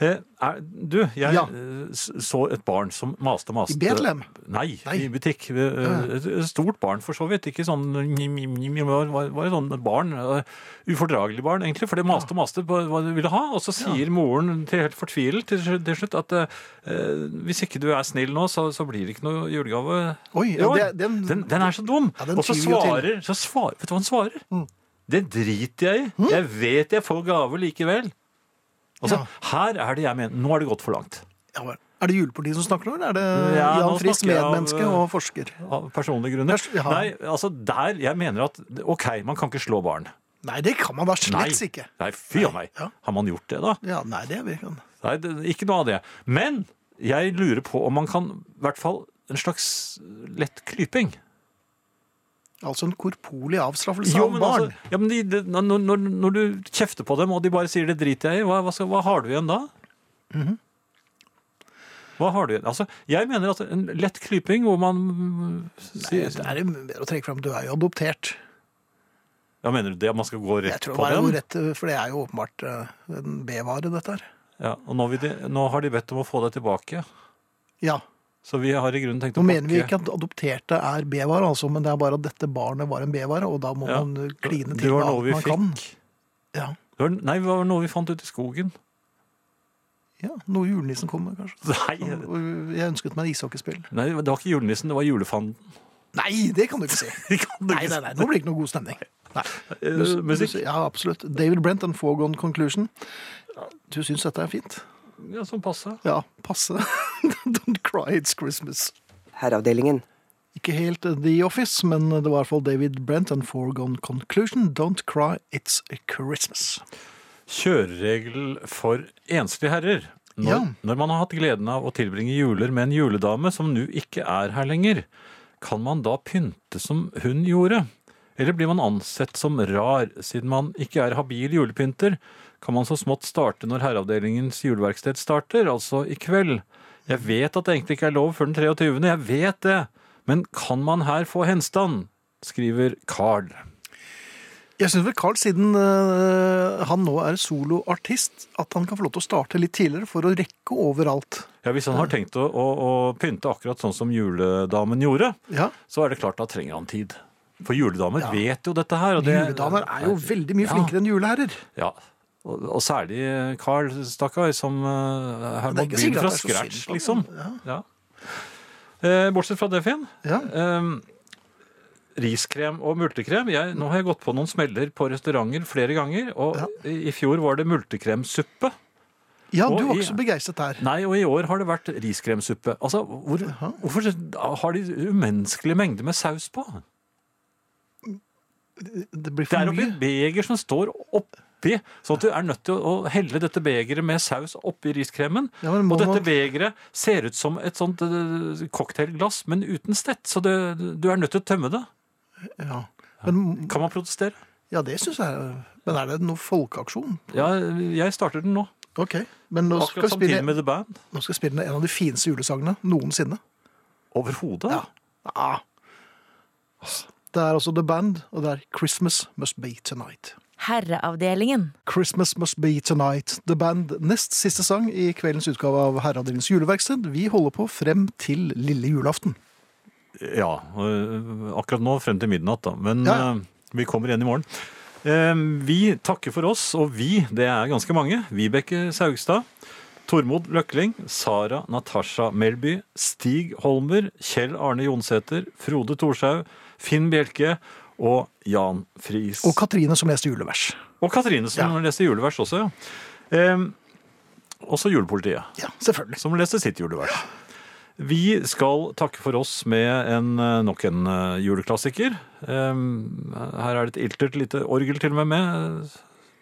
Speaker 4: Eh, er, du, jeg
Speaker 3: Ja.
Speaker 4: eh, s- så et barn som maste og maste.
Speaker 3: I Betlehem?
Speaker 4: Nei,
Speaker 3: Nei. Ah.
Speaker 4: i butikk. Eh, Et et stort barn for så vidt. Ikke sånn njim, njim, njim, det var var et sånt barn. eh, Ufordragelig barn, egentlig. For det maste og maste på hva det ville ha. Og så sier moren til helt fortvilet til, slu- til slutt at eh, eh, hvis ikke du er snill nå, så, så blir det ikke noe julegave.
Speaker 3: Oi, ja,
Speaker 4: i år.
Speaker 3: det- den-
Speaker 4: den, den er så dum!
Speaker 3: Ja, den
Speaker 4: og så
Speaker 3: tyr jo til. Mm.
Speaker 4: svarer, så svarer Vet du hva han svarer? Det driter jeg i. Jeg vet jeg får gave likevel. Altså, Her er det jeg mener. Nå er det gått for langt.
Speaker 3: Ja, vel. er det julepolitiet som snakker nå, eller er det
Speaker 4: Ja, nå
Speaker 3: Jan Friis,
Speaker 4: snakker jeg av,
Speaker 3: medmenneske
Speaker 4: eh,
Speaker 3: og forsker?
Speaker 4: Av personlige grunner.
Speaker 3: Pers- ja.
Speaker 4: Nei, altså der, Jeg mener at OK, man kan ikke slå barn.
Speaker 3: Nei, det kan man da
Speaker 4: Nei,
Speaker 3: slett ikke.
Speaker 4: nei fy a meg.
Speaker 3: ja.
Speaker 4: Har man gjort det, da?
Speaker 3: Ja, nei, det vi kan.
Speaker 4: Nei, det, Ikke noe av det. Men jeg lurer på om man kan i hvert fall en slags lett klyping.
Speaker 3: Altså en korporlig avstraffelse
Speaker 4: Jo,
Speaker 3: av
Speaker 4: men
Speaker 3: barn.
Speaker 4: altså, ja, men de, de, når, når, når du kjefter på dem, og de bare sier 'det driter jeg i', hva, hva, skal, hva har du igjen da?
Speaker 3: Mhm.
Speaker 4: Hva har du igjen? Altså, jeg mener at en lett klyping hvor man mm, sier
Speaker 3: altså, det er jo mer å trekke fram. Du er jo adoptert.
Speaker 4: Ja, mener du det? at Man skal gå
Speaker 3: Jeg
Speaker 4: rett
Speaker 3: tror
Speaker 4: på
Speaker 3: det er jo
Speaker 4: dem?
Speaker 3: rett, for det er jo åpenbart eh, en B-vare, dette her.
Speaker 4: Ja, og nå, vil de, nå har de bedt om å få deg tilbake.
Speaker 3: Ja.
Speaker 4: Så vi har i grunnen tenkt å
Speaker 3: Nå mener vi
Speaker 4: pakke-
Speaker 3: ikke at adopterte er B-vare, altså, men det er bare at dette barnet var en B-vare, og da må
Speaker 4: Ja.
Speaker 3: man kline
Speaker 4: Det
Speaker 3: til
Speaker 4: var
Speaker 3: med
Speaker 4: noe
Speaker 3: alt
Speaker 4: vi
Speaker 3: man
Speaker 4: fikk.
Speaker 3: kan. Ja.
Speaker 4: Det var, nei, det var noe vi fant ute i skogen.
Speaker 3: ja. Noe julenissen kom med, kanskje.
Speaker 4: Nei,
Speaker 3: Og jeg ønsket meg ishockeyspill.
Speaker 4: nei, det var ikke julenissen, det var julefanden.
Speaker 3: Nei, det kan du ikke si!
Speaker 4: Det kan du
Speaker 3: Nei, nei,
Speaker 4: ikke si.
Speaker 3: nei, Nå blir det ikke noe god stemning. Nei.
Speaker 4: Eh,
Speaker 3: Du-
Speaker 4: musikk?
Speaker 3: du- Ja, absolutt. David Brent, en foregående conclusion. Du syns dette er fint?
Speaker 4: Ja, sånn passe.
Speaker 3: Ja, passe. Don't cry, it's Christmas.
Speaker 6: Herreavdelingen.
Speaker 3: Ikke helt eh, The Office, men det var i hvert fall David Brent, en foregående conclusion. Don't cry, it's Christmas.
Speaker 4: Kjøreregel for enslige herrer. Når,
Speaker 3: Ja.
Speaker 4: når man har hatt gleden av å tilbringe juler med en juledame som nå ikke er her lenger, kan man da pynte som hun gjorde? Eller blir man ansett som rar? Siden man ikke er habil julepynter, kan man så smått starte når Herreavdelingens juleverksted starter, altså i kveld. Jeg vet at det egentlig ikke er lov før den 23., jeg vet det, men kan man her få henstand? skriver Carl.
Speaker 3: Jeg syns vel Carl, siden eh, han nå er soloartist, at han kan få lov til å starte litt tidligere for å rekke overalt.
Speaker 4: Ja, Hvis han har tenkt å, å, å pynte akkurat sånn som juledamen gjorde,
Speaker 3: Ja.
Speaker 4: så er det klart da trenger han tid. For juledamer vet jo dette her. Og det,
Speaker 3: Juledamer er jo veldig mye
Speaker 4: Ja.
Speaker 3: flinkere enn juleherrer.
Speaker 4: Ja, og, og særlig Carl, stakkar, som eh,
Speaker 3: Det er
Speaker 4: her må
Speaker 3: ikke
Speaker 4: begynne
Speaker 3: sikkert
Speaker 4: fra
Speaker 3: at det er så
Speaker 4: scratch,
Speaker 3: synd på
Speaker 4: liksom. Ja. Eh, bortsett fra det, Finn.
Speaker 3: Ja.
Speaker 4: Ehm, riskrem og multekrem. Jeg, nå har jeg gått på noen smeller på restauranter flere ganger, og i, i fjor var det multekremsuppe.
Speaker 3: Ja,
Speaker 4: Og
Speaker 3: du var
Speaker 4: i-
Speaker 3: ikke så begeistret der.
Speaker 4: Nei, og i år har det vært riskremsuppe. Altså, hvor, hvorfor har de umenneskelig mengde med saus på?
Speaker 3: Det blir
Speaker 4: Det
Speaker 3: for
Speaker 4: er oppi
Speaker 3: mye.
Speaker 4: et beger som står oppi, sånn at du er nødt til å å helle dette begeret med saus oppi riskremen.
Speaker 3: Ja, men må
Speaker 4: og dette
Speaker 3: man-
Speaker 4: begeret ser ut som et sånt eh, cocktailglass, men uten stett, så det, du er nødt til å tømme det.
Speaker 3: Ja. Men,
Speaker 4: Kan man protestere?
Speaker 3: ja, det syns jeg er Men er det noe folkeaksjon?
Speaker 4: Ja, jeg starter den nå.
Speaker 3: OK. Men nå skal,
Speaker 4: Akkurat
Speaker 3: jeg spille,
Speaker 4: samtidig med The Band.
Speaker 3: nå skal jeg spille en av de fineste julesangene noensinne.
Speaker 4: Overhodet.
Speaker 3: Ah. Det er altså The Band, og det er Christmas Must Be Tonight.
Speaker 9: Herreavdelingen.
Speaker 3: Christmas Must Be Tonight, The Band, nest siste sang i kveldens utgave av Herreavdelingens juleverksted. Vi holder på frem til lille julaften.
Speaker 4: Ja, øh, akkurat nå frem til midnatt, da. Men
Speaker 3: Ja, ja.
Speaker 4: øh, vi kommer igjen i morgen. Eh, Vi takker for oss, og vi, det er ganske mange. Vibeke Saugstad, Tormod Løkling, Sara Natasha Melby, Stig Holmer, Kjell Arne Jonsæter, Frode Thorshaug, Finn Bjelke og Jan Friis.
Speaker 3: Og Katrine som leste julevers.
Speaker 4: og Katrine, som leste julevers også, ja. Eh, Også julepolitiet
Speaker 3: Ja, selvfølgelig.
Speaker 4: som leste sitt julevers. Vi skal takke for oss med en, eh, nok en eh, juleklassiker. Ehm, Her er det et iltert lite orgel til og med med.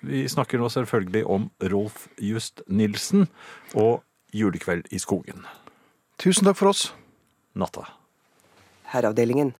Speaker 4: Vi snakker nå selvfølgelig om Rolf Just Nilsen og Julekveld i skogen.
Speaker 3: Tusen takk for oss.
Speaker 4: Natta.
Speaker 6: Herreavdelingen.